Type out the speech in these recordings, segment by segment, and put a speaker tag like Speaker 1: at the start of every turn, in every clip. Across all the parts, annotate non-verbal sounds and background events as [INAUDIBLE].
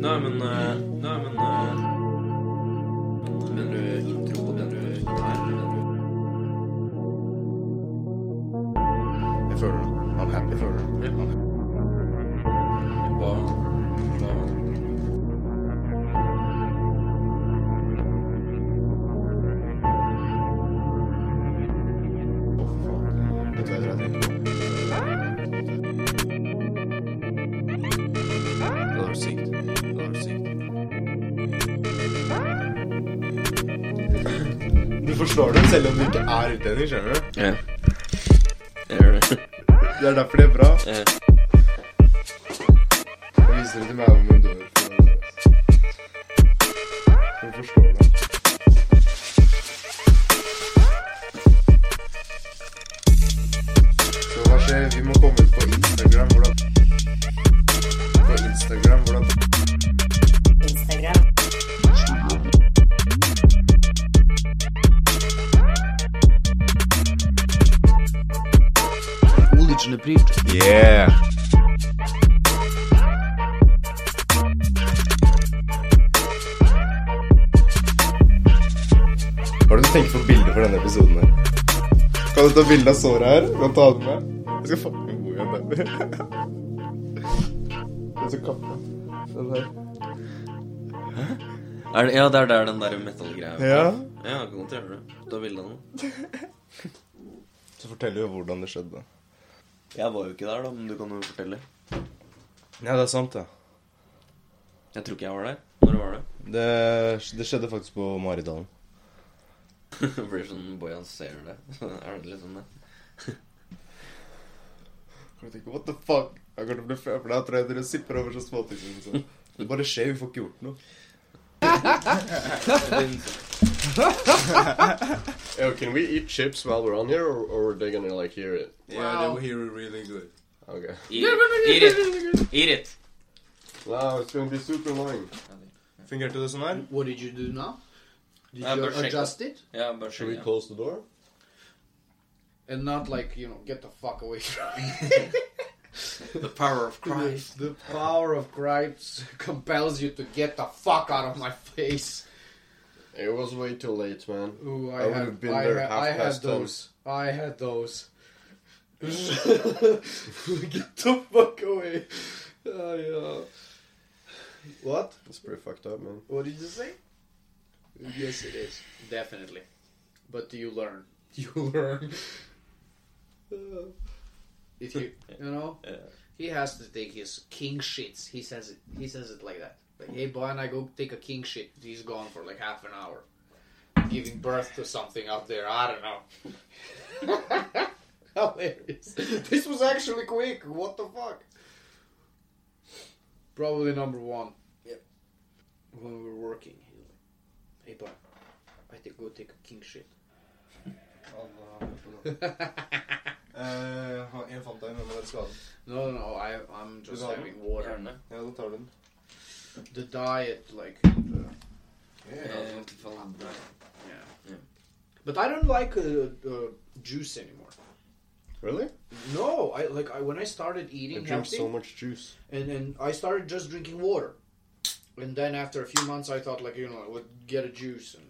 Speaker 1: Nei, men eh, Nei, men eh, Mener du intro på den du der? Mener
Speaker 2: Jeg føler det. I'm happy. Jeg føler det.
Speaker 1: du Hva Hva
Speaker 2: Å, fy faen. Vet du hva jeg tror jeg trenger?
Speaker 1: Det hadde vært sykt. Det hadde vært sykt.
Speaker 2: Du forstår det selv om du ikke er utlending, skjønner du?
Speaker 1: Ja. Jeg gjør det.
Speaker 2: Det er derfor det er bra.
Speaker 1: Ja.
Speaker 2: Jeg viser det til meg om en dør. Du forstår det. Så hva skjer? Vi må komme ut på Instagram. Hvordan På Instagram, hvordan
Speaker 3: Instagram.
Speaker 1: Уличный приют.
Speaker 2: Yeah! Hva er det du tenker på bildet for denne episoden? her? Kan du ta bilde av såret her? Kan du ta det med? Jeg skal fucking bo [LAUGHS] igjen der. Jeg skal kappe den her.
Speaker 1: Er det, ja, det er der den der metallgreia
Speaker 2: Ja.
Speaker 1: Ja, jeg kan godt gjøre det. Ta bilde av den.
Speaker 2: Så forteller du hvordan det skjedde.
Speaker 1: Jeg var jo ikke der, da, men du kan jo fortelle.
Speaker 2: Ja, det er sant, ja.
Speaker 1: Jeg tror ikke jeg var der. Når var det?
Speaker 2: Det, det skjedde faktisk på Maridalen.
Speaker 1: Det [LAUGHS] blir sånn boy han ser det. [LAUGHS] Så er det liksom det.
Speaker 2: Jeg tenker, what the fuck? Jeg kommer til å bli flau, for da tror jeg dere sipper over så småting. Liksom. Det bare skjer, vi får ikke gjort noe.
Speaker 4: [LAUGHS] Yo, can we eat chips while we're on here, or, or are they gonna like hear it?
Speaker 2: Yeah, they will hear it really good.
Speaker 4: Okay.
Speaker 1: Eat it. Eat it. Eat it.
Speaker 4: Wow, it's gonna be super long.
Speaker 2: Fungerte det sånn her?
Speaker 5: What did you do now? Did
Speaker 1: Uh,
Speaker 5: you
Speaker 1: but check
Speaker 5: adjust it?
Speaker 1: Ja, bare
Speaker 4: Should we
Speaker 1: skjønn.
Speaker 4: close the door?
Speaker 5: And not like, you know, get the fuck away from me.
Speaker 1: The power of Christ.
Speaker 5: the power of Christ compels you to get the fuck out of my face.
Speaker 4: It was way too late, man.
Speaker 5: Ooh,
Speaker 4: I
Speaker 5: I,
Speaker 4: would
Speaker 5: had,
Speaker 4: have been
Speaker 5: I,
Speaker 4: there
Speaker 5: had-
Speaker 4: half
Speaker 5: I had
Speaker 4: past ten.
Speaker 5: those. I had those. [LAUGHS] get the fuck away. I, uh, What?
Speaker 4: It's pretty fucked up, man.
Speaker 5: What did you say? Yes, it is. Definitely. But you learn. [LAUGHS] You learn. Uh, if [LAUGHS] you, you know,
Speaker 1: Yeah.
Speaker 5: he has to take his king shits. He says it. He says it like that. Like, hey, boy, and I go take a king shit. He's gone for like half an hour, giving birth to something out there. I don't know. [LAUGHS] Hilarious. This was actually quick. What the fuck? Probably number one when we were working. He was like, hey, bud, I think go take a king shit.
Speaker 2: jeg fant deg med den skaden.
Speaker 5: No, no, no, I, I'm just
Speaker 2: got
Speaker 5: having water.
Speaker 1: Gjerne.
Speaker 2: Ja, da tar du den.
Speaker 5: The diet, like,
Speaker 1: Eh, faen.
Speaker 5: yeah.
Speaker 1: Yeah.
Speaker 5: But I don't like uh, uh, juice anymore.
Speaker 4: Really?
Speaker 5: No, I like I, when I started eating
Speaker 4: I drink
Speaker 5: healthy,
Speaker 4: so much juice.
Speaker 5: and and I started just drinking water, and then after a few months, I thought like you know I would get a juice and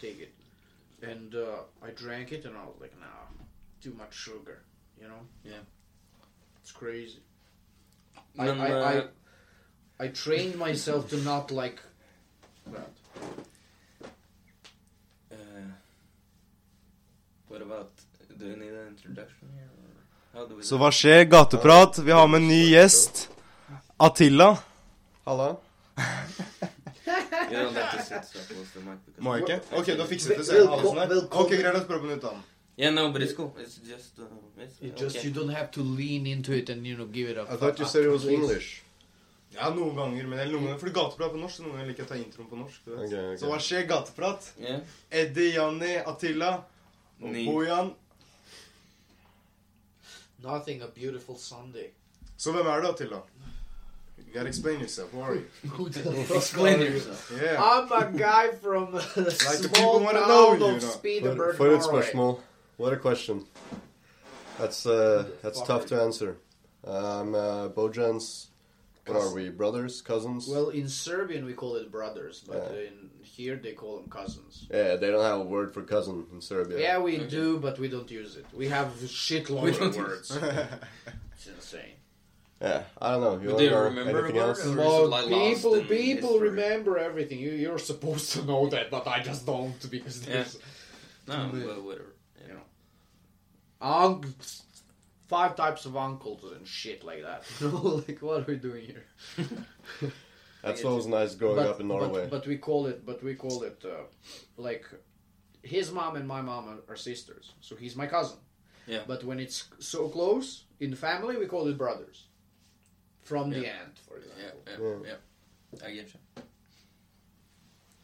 Speaker 5: take it, and uh, I drank it, and I was like, nah, too much sugar, you know.
Speaker 1: Yeah.
Speaker 5: it's crazy.
Speaker 1: Men
Speaker 5: I, I, I,
Speaker 1: eh,
Speaker 5: I trained myself to not like that.
Speaker 1: eh, What about Do you need an introduction? or How do we
Speaker 6: Så hva skjer? Gateprat. Vi har med en ny gjest. Atilla.
Speaker 4: Hello?
Speaker 1: You don't have to sit so close to the mic because
Speaker 2: Må jeg ikke? Ok, da fikset det seg.
Speaker 5: Vel-
Speaker 2: Halsen her.
Speaker 5: velkommen.
Speaker 2: Ok, greit, la oss prøve på nytt da.
Speaker 1: Yeah, no, but it's cool. It's just uh, it's,
Speaker 5: It just
Speaker 1: okay.
Speaker 5: you don't have to lean into it and you know give it up.
Speaker 4: I thought you said it was English.
Speaker 2: Ja, noen ganger, men eller noen ganger. Fordi gateprat på norsk, så noen ganger liker jeg å ta introen på norsk. Du vet.
Speaker 4: Ok, ok.
Speaker 2: Så hva skjer? Gateprat.
Speaker 1: Yeah.
Speaker 2: Eddie, Janni, Attila og
Speaker 1: Ni.
Speaker 2: Bojan.
Speaker 5: Nothing a
Speaker 1: [LAUGHS]
Speaker 5: beautiful Sunday.
Speaker 2: Så hvem er du, Attila? You gotta explain yourself, who are you?
Speaker 5: Who the fuck
Speaker 1: Explain
Speaker 5: are you?
Speaker 1: yourself.
Speaker 2: Yeah.
Speaker 5: I'm a guy
Speaker 2: [LAUGHS]
Speaker 5: from the small
Speaker 2: people wanna
Speaker 5: town
Speaker 2: know you,
Speaker 5: of
Speaker 2: you know.
Speaker 5: Speederberg,
Speaker 4: For its
Speaker 5: Norway.
Speaker 4: spørsmål. What a question. That's uh, that's tough to answer. I'm uh, Um, Bojan's What are we, brothers, cousins?
Speaker 5: Well, in Serbian we call it brothers, but
Speaker 4: Yeah.
Speaker 5: in here they call them cousins.
Speaker 4: yeah, they don't have a word for cousin in Serbia.
Speaker 5: Yeah, we
Speaker 1: Okay.
Speaker 5: do, but we don't use it. We have
Speaker 1: We
Speaker 5: shitload
Speaker 1: don't
Speaker 5: of
Speaker 1: use-
Speaker 5: words. [LAUGHS] It's insane.
Speaker 4: Yeah, I don't know. You
Speaker 1: But
Speaker 4: wanna
Speaker 1: do you
Speaker 4: know
Speaker 1: remember
Speaker 4: anything
Speaker 1: a word,
Speaker 4: else?
Speaker 1: or- is it,
Speaker 5: Well,
Speaker 1: like, lost
Speaker 5: people,
Speaker 1: in
Speaker 5: people
Speaker 1: history?
Speaker 5: remember everything. You, you're supposed to know that, but I just don't because
Speaker 1: Yeah.
Speaker 5: there's
Speaker 1: No,
Speaker 5: Yeah.
Speaker 1: well, whatever. Yeah.
Speaker 5: unc- five types of uncles and shit like that. [LAUGHS] You know, like what are we doing here?
Speaker 4: That's what was nice growing
Speaker 5: but,
Speaker 4: up in Norway.
Speaker 5: But, but we call it, but we call it, uh, like, his mom and my mom are, are sisters, so he's my cousin.
Speaker 1: Yeah.
Speaker 5: But when it's so close in family, we call it brothers. From the
Speaker 1: Yeah.
Speaker 5: end, for example,
Speaker 1: Yeah, yeah, yeah.
Speaker 4: Yeah.
Speaker 1: I get you.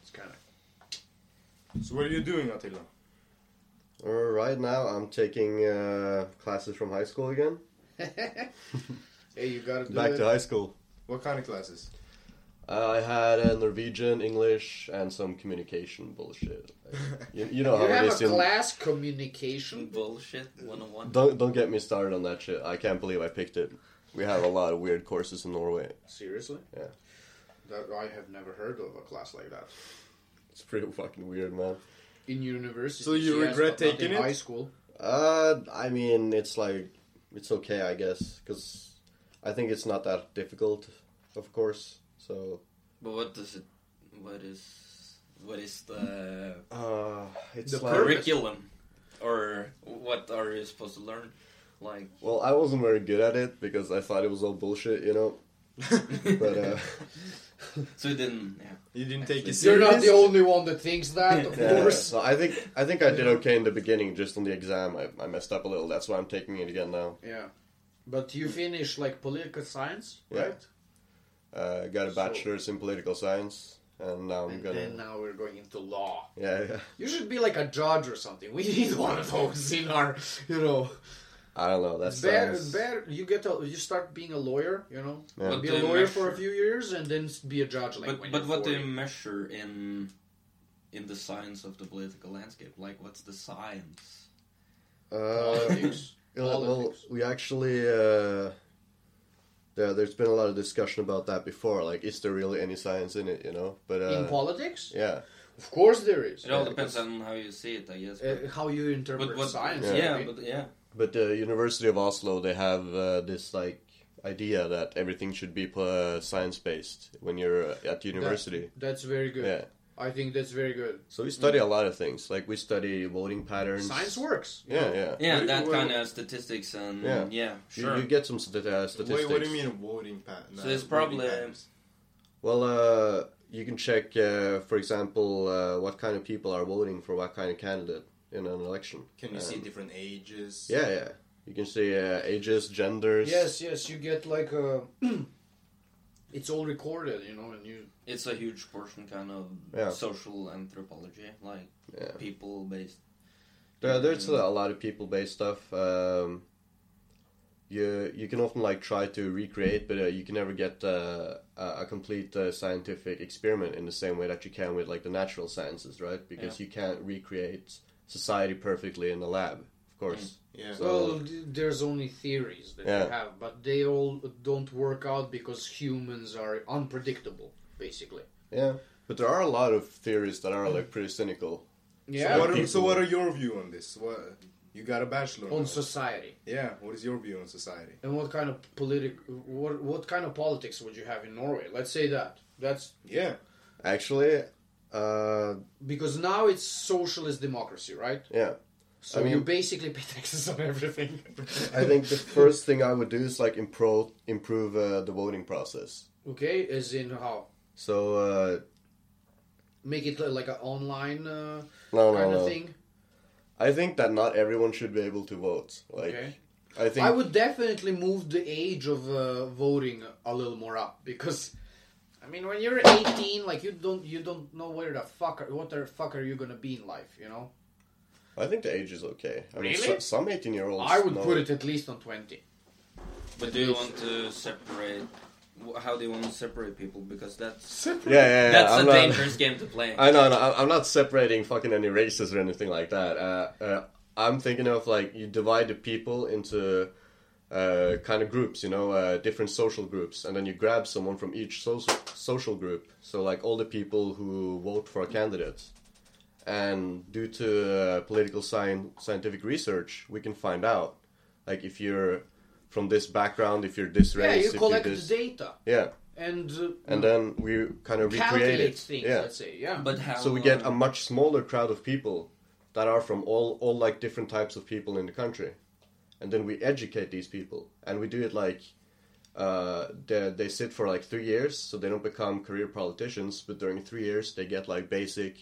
Speaker 5: it's kind of
Speaker 2: So what are you doing, Attila?
Speaker 4: Uh, right now, I'm taking uh, classes from high school again.
Speaker 5: hey, you gotta do
Speaker 4: Back
Speaker 5: it.
Speaker 4: to high school.
Speaker 2: What kind of classes?
Speaker 4: I had uh, Norwegian, English, and some communication bullshit. You, you know how
Speaker 5: [LAUGHS] you
Speaker 4: it
Speaker 5: have
Speaker 4: is.
Speaker 5: a
Speaker 4: in-
Speaker 5: class communication.
Speaker 1: Bullshit 101.
Speaker 4: Don't don't get me started on that shit. I can't believe I picked it. We have a lot of weird courses in Norway.
Speaker 5: Seriously?
Speaker 4: Yeah.
Speaker 5: That I have never heard of a class like that
Speaker 4: It's pretty fucking weird, man.
Speaker 5: in university.
Speaker 2: So you
Speaker 5: yes,
Speaker 2: regret
Speaker 5: but not
Speaker 2: taking
Speaker 5: in
Speaker 2: it?
Speaker 5: High school.
Speaker 4: Uh, I mean, it's like it's okay, I guess, because I think it's not that difficult, of course. So
Speaker 1: But what does it. What is. What is the
Speaker 4: uh, it's
Speaker 5: The
Speaker 4: like
Speaker 1: curriculum? Or what are you supposed to learn? Like.
Speaker 4: well, I wasn't very good at it because I thought it was all bullshit, you know. But uh,
Speaker 1: [LAUGHS]
Speaker 4: [LAUGHS]
Speaker 1: so you didn't. Yeah.
Speaker 2: You didn't take it serious?
Speaker 5: You're not the only one that thinks that,
Speaker 2: [LAUGHS]
Speaker 5: of
Speaker 4: yeah,
Speaker 5: course.
Speaker 4: so I think I think I did okay in the beginning, just on the exam. I, I messed up a little. That's why I'm taking it again now.
Speaker 5: Yeah. But you finish like political science,
Speaker 4: Hmm. Yeah.
Speaker 5: right?
Speaker 4: Uh, I got a
Speaker 5: So-
Speaker 4: bachelor's in political science, and now I'm
Speaker 5: and
Speaker 4: gonna
Speaker 5: then now we're going into law.
Speaker 4: yeah yeah.
Speaker 5: You should be like a judge or something. We [LAUGHS] need one of those in our, you know.
Speaker 4: I don't know. That's
Speaker 5: Bear, bear, you get a, you start being a lawyer, you know.
Speaker 4: Yeah. What
Speaker 5: Be
Speaker 1: do
Speaker 5: a
Speaker 1: you
Speaker 5: lawyer for a
Speaker 1: measure?
Speaker 5: few years and then s- be a judge. Like
Speaker 1: But,
Speaker 5: when
Speaker 1: but
Speaker 5: you're
Speaker 1: what do
Speaker 5: 40.
Speaker 1: you measure in in the science of the political landscape? Like, what's the science?
Speaker 4: Uh,
Speaker 5: [LAUGHS] Politics.
Speaker 4: Yeah, well,
Speaker 5: Politics.
Speaker 4: we actually uh, there, there's been a lot of discussion about that before. Like, is there really any science in it? You know, but uh,
Speaker 5: in politics?
Speaker 4: yeah,
Speaker 5: Of course there is.
Speaker 1: It all
Speaker 4: Yeah,
Speaker 1: depends
Speaker 4: because-
Speaker 1: on how you see it, I guess. But,
Speaker 5: Uh, how you interpret
Speaker 1: but what
Speaker 5: science.
Speaker 1: Yeah,
Speaker 5: I mean.
Speaker 1: but yeah.
Speaker 4: but the University of Oslo they have uh, this like idea that everything should be uh, science based when you're uh, at university.
Speaker 5: That's very good.
Speaker 4: Yeah,
Speaker 5: I think that's very good.
Speaker 4: so we study a lot of things. Like we study voting patterns.
Speaker 5: Science works. you
Speaker 4: Yeah,
Speaker 5: know.
Speaker 4: yeah.
Speaker 1: Yeah,
Speaker 2: Wait,
Speaker 1: that
Speaker 2: wait,
Speaker 1: kind of statistics and yeah,
Speaker 4: Yeah. You-
Speaker 1: sure.
Speaker 4: You, get some st- uh, statistics.
Speaker 2: Wait, what do you mean voting pattern?
Speaker 1: So it's probably-
Speaker 4: Well, uh, you can check, uh, for example, uh, what kind of people are voting for what kind of candidate in an election.
Speaker 2: Can you
Speaker 4: Um,
Speaker 2: see different ages?
Speaker 4: Yeah, yeah. You can see uh, ages, genders.
Speaker 5: Yes, yes. You get like a. [CLEARS THROAT] it's all recorded, you know, and you.
Speaker 1: it's a huge portion, kind of
Speaker 4: Yeah.
Speaker 1: social anthropology, like
Speaker 4: Yeah.
Speaker 1: people based.
Speaker 4: There, there's a lot of people-based stuff. Um, you you can often like try to recreate, but uh, you can never get uh, a a complete uh, scientific experiment in the same way that you can with like the natural sciences, right? Because you can't recreate society perfectly in the lab, of course.
Speaker 2: Yeah.
Speaker 4: So-
Speaker 5: Well, th- there's only theories that
Speaker 4: Yeah.
Speaker 5: you have, but they all don't work out because humans are unpredictable, basically.
Speaker 4: Yeah, but there are a lot of theories that are like pretty cynical.
Speaker 5: Yeah.
Speaker 2: So, what are,
Speaker 4: people-
Speaker 2: so what are your view on this? What you got a bachelor?
Speaker 5: on
Speaker 2: now.
Speaker 5: society
Speaker 2: yeah. What is your view on society?
Speaker 5: and what kind of politic what what kind of politics would you have in Norway? Let's say that. That's
Speaker 2: Yeah.
Speaker 4: Actually, uh,
Speaker 5: because now it's socialist democracy, right?
Speaker 4: yeah.
Speaker 5: So
Speaker 4: I mean-
Speaker 5: you basically pay taxes on everything.
Speaker 4: I
Speaker 5: [LAUGHS]
Speaker 4: think the first thing I would do is like improve improve uh, the voting process.
Speaker 5: okay, as in how
Speaker 4: So uh,
Speaker 5: make it li- like an online uh,
Speaker 4: no, no,
Speaker 5: kind of
Speaker 4: no.
Speaker 5: thing.
Speaker 4: I think that not everyone should be able to vote. Like,
Speaker 5: Okay.
Speaker 4: I think
Speaker 5: I would definitely move the age of uh, voting a little more up because. I mean, when you're 18, like you don't you don't know where the fuck are, what the fuck are you gonna be in life, you know?
Speaker 4: I think the age is okay. I mean,
Speaker 5: Really?
Speaker 4: so, some eighteen year olds.
Speaker 5: I would put it at least on 20.
Speaker 1: But do you want to separate? wh- How do you want to separate people? Because that's
Speaker 4: Yeah, yeah, yeah.
Speaker 1: that's
Speaker 4: I'm
Speaker 1: a
Speaker 4: not-
Speaker 1: dangerous game to play.
Speaker 4: I know, no, I'm- I'm not separating fucking any races or anything like that. Uh, uh, I'm thinking of like you divide the people into uh, kind of groups, you know, uh, different social groups, and then you grab someone from each social social group. So like all the people who vote for a candidate, and due to uh, political science scientific research, we can find out like if you're from this background, if you're this
Speaker 5: Yeah,
Speaker 4: race,
Speaker 5: you
Speaker 4: if
Speaker 5: collect
Speaker 4: you're this,
Speaker 5: data
Speaker 4: yeah,
Speaker 5: and, uh,
Speaker 4: and then we kind of recreate
Speaker 5: calculate
Speaker 4: it,
Speaker 5: things.
Speaker 4: yeah.
Speaker 5: Let's say, yeah.
Speaker 1: But how?
Speaker 4: So we get a
Speaker 1: uh,
Speaker 4: much smaller crowd of people that are from all, all like different types of people in the country, and then we educate these people, and we do it like uh, they they sit for like three years, so they don't become career politicians, but during three years they get like basic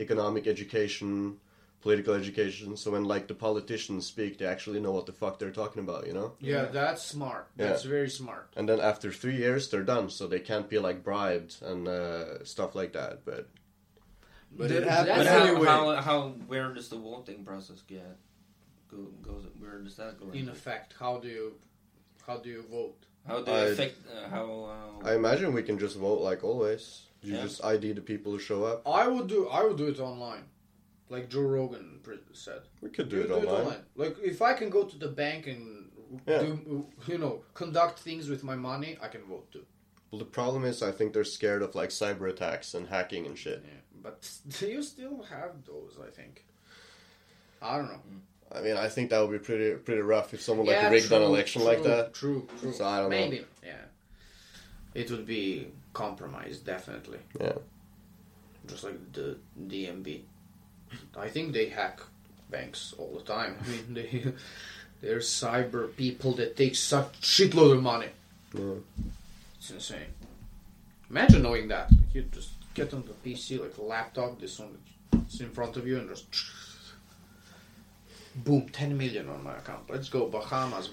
Speaker 4: economic education, political education. So when like the politicians speak, they actually know what the fuck they're talking about, you know.
Speaker 5: yeah, that's smart. That's
Speaker 4: Yeah.
Speaker 5: very smart.
Speaker 4: And then after three years, they're done, so they can't be like bribed and uh, stuff like that. But
Speaker 5: But
Speaker 2: it
Speaker 1: But
Speaker 2: happens
Speaker 1: how,
Speaker 2: anyway.
Speaker 1: how, how, where does the voting process get? Go, goes, where does that go?
Speaker 5: in effect, how do you how do you vote?
Speaker 1: How do you
Speaker 4: I-
Speaker 1: affect? Uh, how? Uh,
Speaker 4: I imagine we can just vote like always. You
Speaker 1: Yeah.
Speaker 4: just ID the people who show up.
Speaker 5: I would do I would do it online, like Joe Rogan pre- said.
Speaker 4: We could
Speaker 5: You Like if I can go to the bank and
Speaker 4: Yeah.
Speaker 5: do, you know conduct things with my money, I can vote too.
Speaker 4: Well, the problem is, I think they're scared of like cyber attacks and hacking and shit.
Speaker 5: Yeah, but [LAUGHS] you still have those, I think. I don't know.
Speaker 4: I mean, I think that would be pretty pretty rough if someone like
Speaker 5: Yeah,
Speaker 4: rigged an
Speaker 5: true,
Speaker 4: election like
Speaker 5: true,
Speaker 4: that.
Speaker 5: True, true.
Speaker 4: So I don't know.
Speaker 5: Maybe, yeah. It would be compromised, definitely.
Speaker 4: Yeah.
Speaker 5: Just like the DMB. I think they hack banks all the time. [LAUGHS] I mean, they, they're cyber people that take such shitload of money.
Speaker 4: Yeah.
Speaker 5: It's insane. Imagine knowing that. Like you just get on the PC, like a laptop, this one that's in front of you, and just. [SNIFFS] Boom, 10 million on my account. Let's go Bahamas,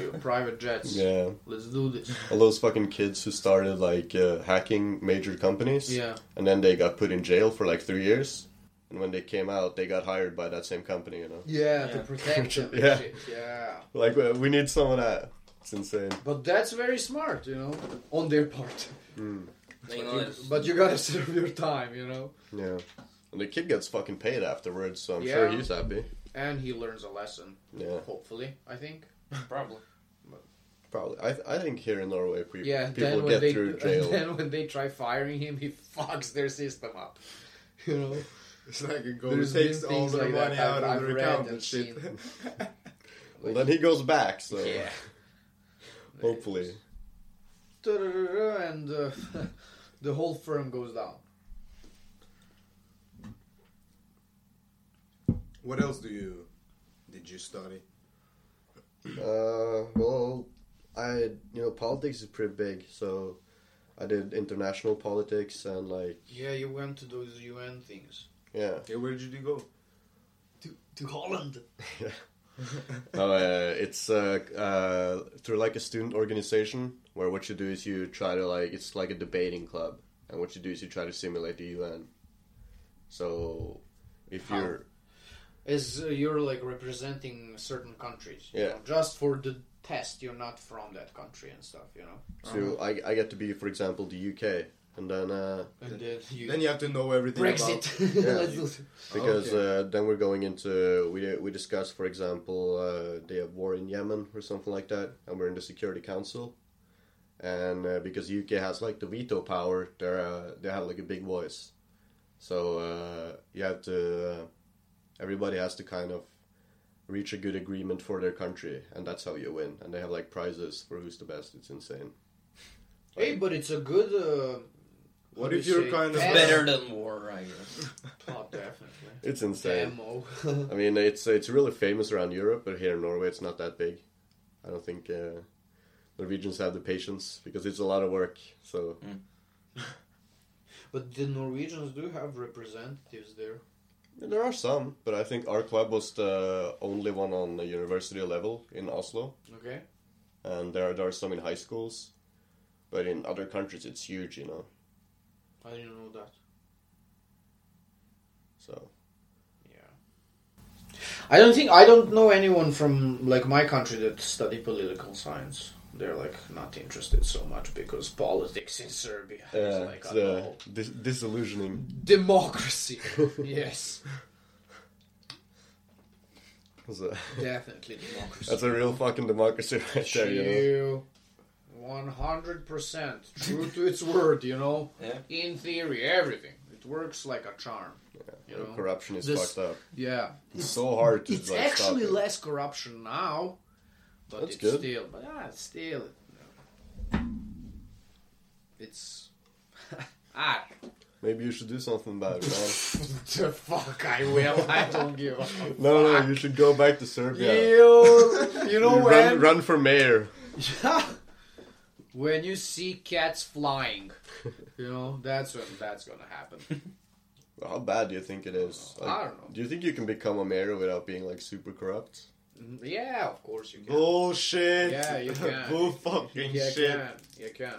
Speaker 4: [LAUGHS]
Speaker 5: your private jets.
Speaker 4: Yeah.
Speaker 5: Let's
Speaker 4: [LAUGHS]
Speaker 5: do this.
Speaker 4: All those fucking kids who started like uh, hacking major companies.
Speaker 5: Yeah.
Speaker 4: And then they got put in jail for like three years. And when they came out, they got hired by that same company. You know.
Speaker 5: Yeah, to
Speaker 1: Yeah.
Speaker 5: protect them.
Speaker 4: [LAUGHS]
Speaker 5: and
Speaker 4: Yeah.
Speaker 5: shit, yeah.
Speaker 4: Like uh, we need someone that. It's insane.
Speaker 5: But that's very smart, you know, on their part.
Speaker 1: you know,
Speaker 5: You-
Speaker 1: it's-
Speaker 5: but you gotta [LAUGHS] serve your time, you know.
Speaker 4: Yeah. And the kid gets fucking paid afterwards, so I'm
Speaker 5: Yeah.
Speaker 4: sure he's happy.
Speaker 5: And he learns a lesson,
Speaker 4: Yeah.
Speaker 5: hopefully, I think.
Speaker 1: Probably.
Speaker 4: Probably. I, I think here in Norway, pe-
Speaker 5: Yeah,
Speaker 4: people
Speaker 5: then when
Speaker 4: get
Speaker 5: they
Speaker 4: through jail.
Speaker 5: [LAUGHS] then when they try firing him, he fucks their system up. [LAUGHS] You know,
Speaker 2: It's like it
Speaker 5: There's
Speaker 2: goes, takes
Speaker 5: been
Speaker 2: all
Speaker 5: things
Speaker 2: the
Speaker 5: like that
Speaker 2: money out
Speaker 5: I've-
Speaker 2: of
Speaker 5: I've
Speaker 2: their
Speaker 5: read
Speaker 2: account
Speaker 5: and
Speaker 2: and shit.
Speaker 5: seen.
Speaker 4: well, then he goes back, so
Speaker 5: Yeah.
Speaker 2: uh,
Speaker 5: [LAUGHS]
Speaker 4: hopefully.
Speaker 5: and uh, [LAUGHS] the whole firm goes down.
Speaker 2: [LAUGHS] what else do you did you study?
Speaker 4: Uh, well, I, you know, politics is pretty big, so I did international politics and, like,
Speaker 5: Yeah, you went to those UN things.
Speaker 4: yeah.
Speaker 2: Yeah, where did you go?
Speaker 5: To, to Holland.
Speaker 4: No, uh, it's uh, uh, through, like, a student organization where what you do is you try to, like, it's like a debating club, and what you do is you try to simulate the UN. So, if
Speaker 5: How?
Speaker 4: you're.
Speaker 5: Is uh, you're like representing certain countries. you
Speaker 4: Yeah.
Speaker 5: know, just for the test, you're not from that country and stuff, you know.
Speaker 4: So I, I get to be, for example, the UK, and then uh,
Speaker 5: And then you.
Speaker 2: Then you have to know everything [LAUGHS] about
Speaker 5: Brexit. [LAUGHS]
Speaker 4: Yeah.
Speaker 5: Let's do it.
Speaker 4: because
Speaker 2: Okay.
Speaker 4: uh, then we're going into we we discuss, for example, uh, they have war in Yemen or something like that, and we're in the Security Council, and uh, because UK has like the veto power, they uh, they have like a big voice, so uh, you have to uh, everybody has to kind of reach a good agreement for their country, and that's how you win. And they have like prizes for who's the best. It's insane.
Speaker 5: Hey, but it's a good. Uh,
Speaker 2: What
Speaker 5: how
Speaker 2: if
Speaker 5: do you
Speaker 2: you're
Speaker 5: say,
Speaker 2: kind of-
Speaker 5: test?
Speaker 1: Better than war, I guess.
Speaker 5: Oh, definitely.
Speaker 4: It's insane.
Speaker 5: Demo. [LAUGHS]
Speaker 4: I mean, it's it's really famous around Europe, but here in Norway, it's not that big. I don't think uh, Norwegians have the patience because it's a lot of work. So
Speaker 5: but the Norwegians do have representatives there.
Speaker 4: there are some, but I think our club was the only one on the university level in Oslo,
Speaker 5: Okay.
Speaker 4: and there are, there are some in high schools, but in other countries, it's huge, you know.
Speaker 5: I didn't know that.
Speaker 4: So
Speaker 5: Yeah. I don't think I don't know anyone from like my country that study political science. They're like not interested so much because politics in Serbia is
Speaker 4: yeah,
Speaker 5: like
Speaker 4: uh, it's
Speaker 5: I don't
Speaker 4: the
Speaker 5: know,
Speaker 4: dis-
Speaker 5: [LAUGHS]
Speaker 4: disillusioning.
Speaker 5: democracy. yes.
Speaker 4: So,
Speaker 5: Definitely democracy.
Speaker 4: that's a real fucking democracy [LAUGHS] right there, you know.
Speaker 5: Chill. 100% true to its word, you know?
Speaker 1: Yeah.
Speaker 5: In theory, everything. It works like a charm. You know?
Speaker 4: Corruption is
Speaker 5: This-
Speaker 4: fucked up.
Speaker 5: Yeah.
Speaker 4: It's so hard to
Speaker 5: It's
Speaker 4: like,
Speaker 5: actually
Speaker 4: stop it.
Speaker 5: less corruption now, but
Speaker 4: That's
Speaker 5: it's
Speaker 4: good.
Speaker 5: still, but ah, it's still, it's [LAUGHS] ah, [LAUGHS]
Speaker 4: Maybe you should do something about it, man.
Speaker 5: the fuck I will. I don't give a fuck.
Speaker 4: [LAUGHS] no, no, you should go back to Serbia.
Speaker 5: You, you know
Speaker 4: You
Speaker 5: when
Speaker 4: run, run for mayor.
Speaker 5: [LAUGHS] when you see cats flying, you know that's when that's gonna happen. [LAUGHS]
Speaker 4: How bad do you think it is?
Speaker 5: I don't know.
Speaker 4: Do you think you can become a mayor without being like super corrupt?
Speaker 5: Mm, Yeah, of course you can.
Speaker 4: Bullshit.
Speaker 5: Yeah,
Speaker 4: [LAUGHS]
Speaker 5: you can.
Speaker 4: Bull Oh, fucking
Speaker 5: you
Speaker 4: shit.
Speaker 5: can. You can.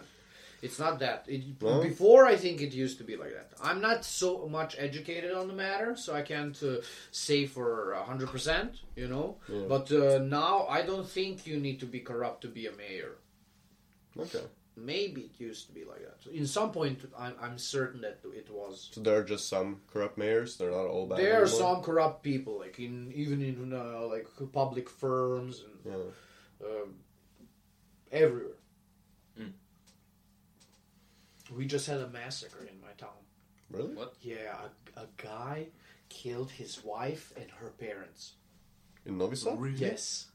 Speaker 5: It's not that. It,
Speaker 4: No?
Speaker 5: Before, I think it used to be like that. I'm not so much educated on the matter, so I can't uh, say for 100%, you know?
Speaker 4: Yeah.
Speaker 5: But uh, now, I don't think you need to be corrupt to be a mayor.
Speaker 4: Okay.
Speaker 5: Maybe it used to be like that. in some point, I'm, I'm certain that it was.
Speaker 4: So there are just some corrupt mayors. They're not all bad.
Speaker 5: There are
Speaker 4: anymore?
Speaker 5: some corrupt people, like in even in uh, like public firms and
Speaker 4: Yeah.
Speaker 5: um, everywhere.
Speaker 1: Mm.
Speaker 5: We just had a massacre in my town.
Speaker 4: Really?
Speaker 1: What?
Speaker 5: Yeah, a, a guy killed his wife and her parents.
Speaker 4: In Novi Sad?
Speaker 2: [LAUGHS]
Speaker 5: Yes.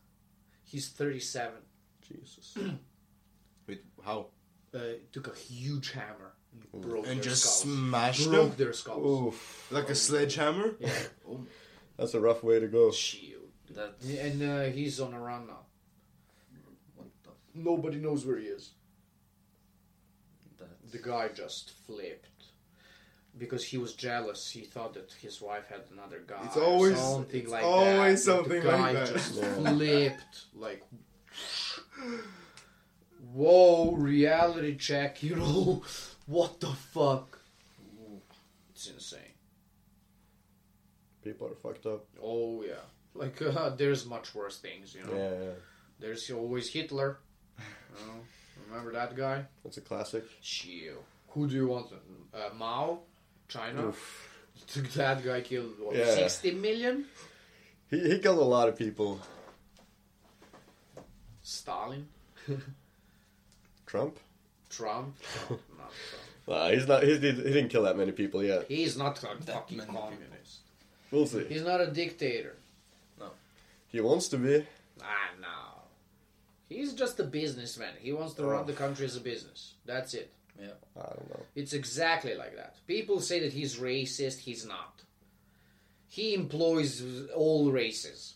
Speaker 5: He's 37.
Speaker 4: Jesus.
Speaker 1: Wait, how?
Speaker 5: Uh, took a huge hammer and broke
Speaker 6: And
Speaker 5: their
Speaker 6: just
Speaker 5: skulls.
Speaker 6: smashed
Speaker 5: Broke
Speaker 6: them?
Speaker 5: their skulls.
Speaker 4: Oof.
Speaker 6: Like a sledgehammer? [LAUGHS]
Speaker 5: Yeah.
Speaker 4: That's a rough way to go.
Speaker 5: Shield.
Speaker 1: That's
Speaker 5: And uh, he's on a run now.
Speaker 1: what the
Speaker 5: Nobody knows where he is.
Speaker 1: that's
Speaker 5: The guy just flipped because he was jealous. He thought that his wife had another guy.
Speaker 6: It's
Speaker 5: or
Speaker 6: always-
Speaker 5: something
Speaker 6: it's
Speaker 5: like
Speaker 6: always
Speaker 5: that.
Speaker 6: something
Speaker 5: the guy
Speaker 6: like that.
Speaker 5: Just
Speaker 4: Yeah.
Speaker 5: flipped like.
Speaker 6: [SIGHS]
Speaker 5: Whoa! Reality check. You know [LAUGHS] what the fuck? It's insane.
Speaker 4: People are fucked up.
Speaker 5: Oh yeah. Like [LAUGHS] uh, there's much worse things. You know.
Speaker 4: Yeah, yeah.
Speaker 5: There's always
Speaker 6: [LAUGHS]
Speaker 5: Hitler. You know? Remember that guy?
Speaker 4: That's a classic.
Speaker 5: Shit. Who do you want? Uh, Mao? China?
Speaker 4: Oof.
Speaker 5: That guy killed what,
Speaker 4: Yeah.
Speaker 5: 60 million?
Speaker 4: He, he killed a lot of people.
Speaker 5: Stalin?
Speaker 4: Trump? [LAUGHS]
Speaker 5: Trump? No, not Trump.
Speaker 4: Nah, he's not. He, he didn't kill that many people yet.
Speaker 5: He's not a
Speaker 1: That
Speaker 5: fucking
Speaker 1: many
Speaker 5: communist.
Speaker 4: We'll see.
Speaker 5: He's not a dictator.
Speaker 4: He wants to be.
Speaker 5: Ah, no. He's just a businessman. He wants to run the country as a business. That's it.
Speaker 4: I don't know.
Speaker 5: It's exactly like that. People say that he's racist. He's not. He employs
Speaker 4: [LAUGHS]
Speaker 5: all races.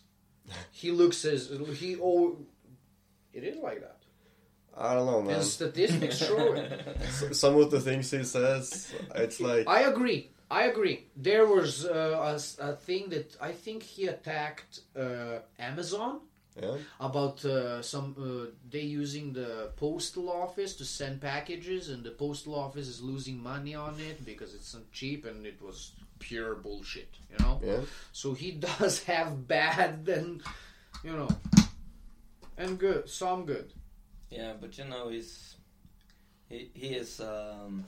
Speaker 5: He looks as he. Oh, it is like that.
Speaker 4: I don't know, man. [LAUGHS]
Speaker 5: And statistics show it.
Speaker 4: S- Some of the things he says, it's like
Speaker 5: I agree. I agree. There was uh, a s- a, thing that I think he attacked uh, Amazon
Speaker 4: yeah,
Speaker 5: about uh, some uh, they using the postal office to send packages, and the postal office is losing money on it because it's not cheap, and it was pure bullshit. You know.
Speaker 4: yeah.
Speaker 5: So he [LAUGHS] does have bad and you know, and good, some good.
Speaker 1: Yeah, but you know he's he he is um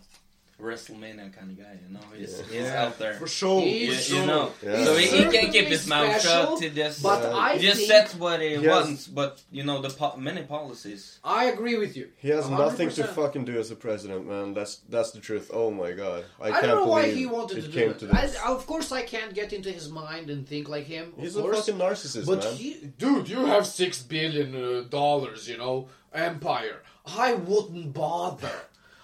Speaker 1: WrestleMania kind of guy, you know. He's he's
Speaker 6: Yeah.
Speaker 1: out there.
Speaker 6: For sure.
Speaker 1: You,
Speaker 5: He's-
Speaker 1: you know.
Speaker 4: Yeah.
Speaker 1: So he, he can
Speaker 5: Certainly
Speaker 1: keep his mouth
Speaker 5: special,
Speaker 1: shut. He just
Speaker 5: But
Speaker 4: Uh,
Speaker 5: I
Speaker 1: he just
Speaker 5: think
Speaker 1: says what he,
Speaker 4: He has-
Speaker 1: wants. But you know the po- many policies.
Speaker 5: I agree with you.
Speaker 4: He has nothing to
Speaker 5: 100%.
Speaker 4: fucking do as a president, man. That's that's the truth. Oh my god, I,
Speaker 5: I
Speaker 4: can't
Speaker 5: don't know why
Speaker 4: believe
Speaker 5: he wanted
Speaker 4: it
Speaker 5: to
Speaker 4: came
Speaker 5: do
Speaker 4: to
Speaker 5: that. I,
Speaker 4: this.
Speaker 5: of course, I can't get into his mind and think like him. Of
Speaker 4: He's a
Speaker 5: course.
Speaker 4: fucking narcissist,
Speaker 5: but
Speaker 4: man.
Speaker 5: he, dude, you have six billion uh, dollars, you know, empire. I wouldn't bother.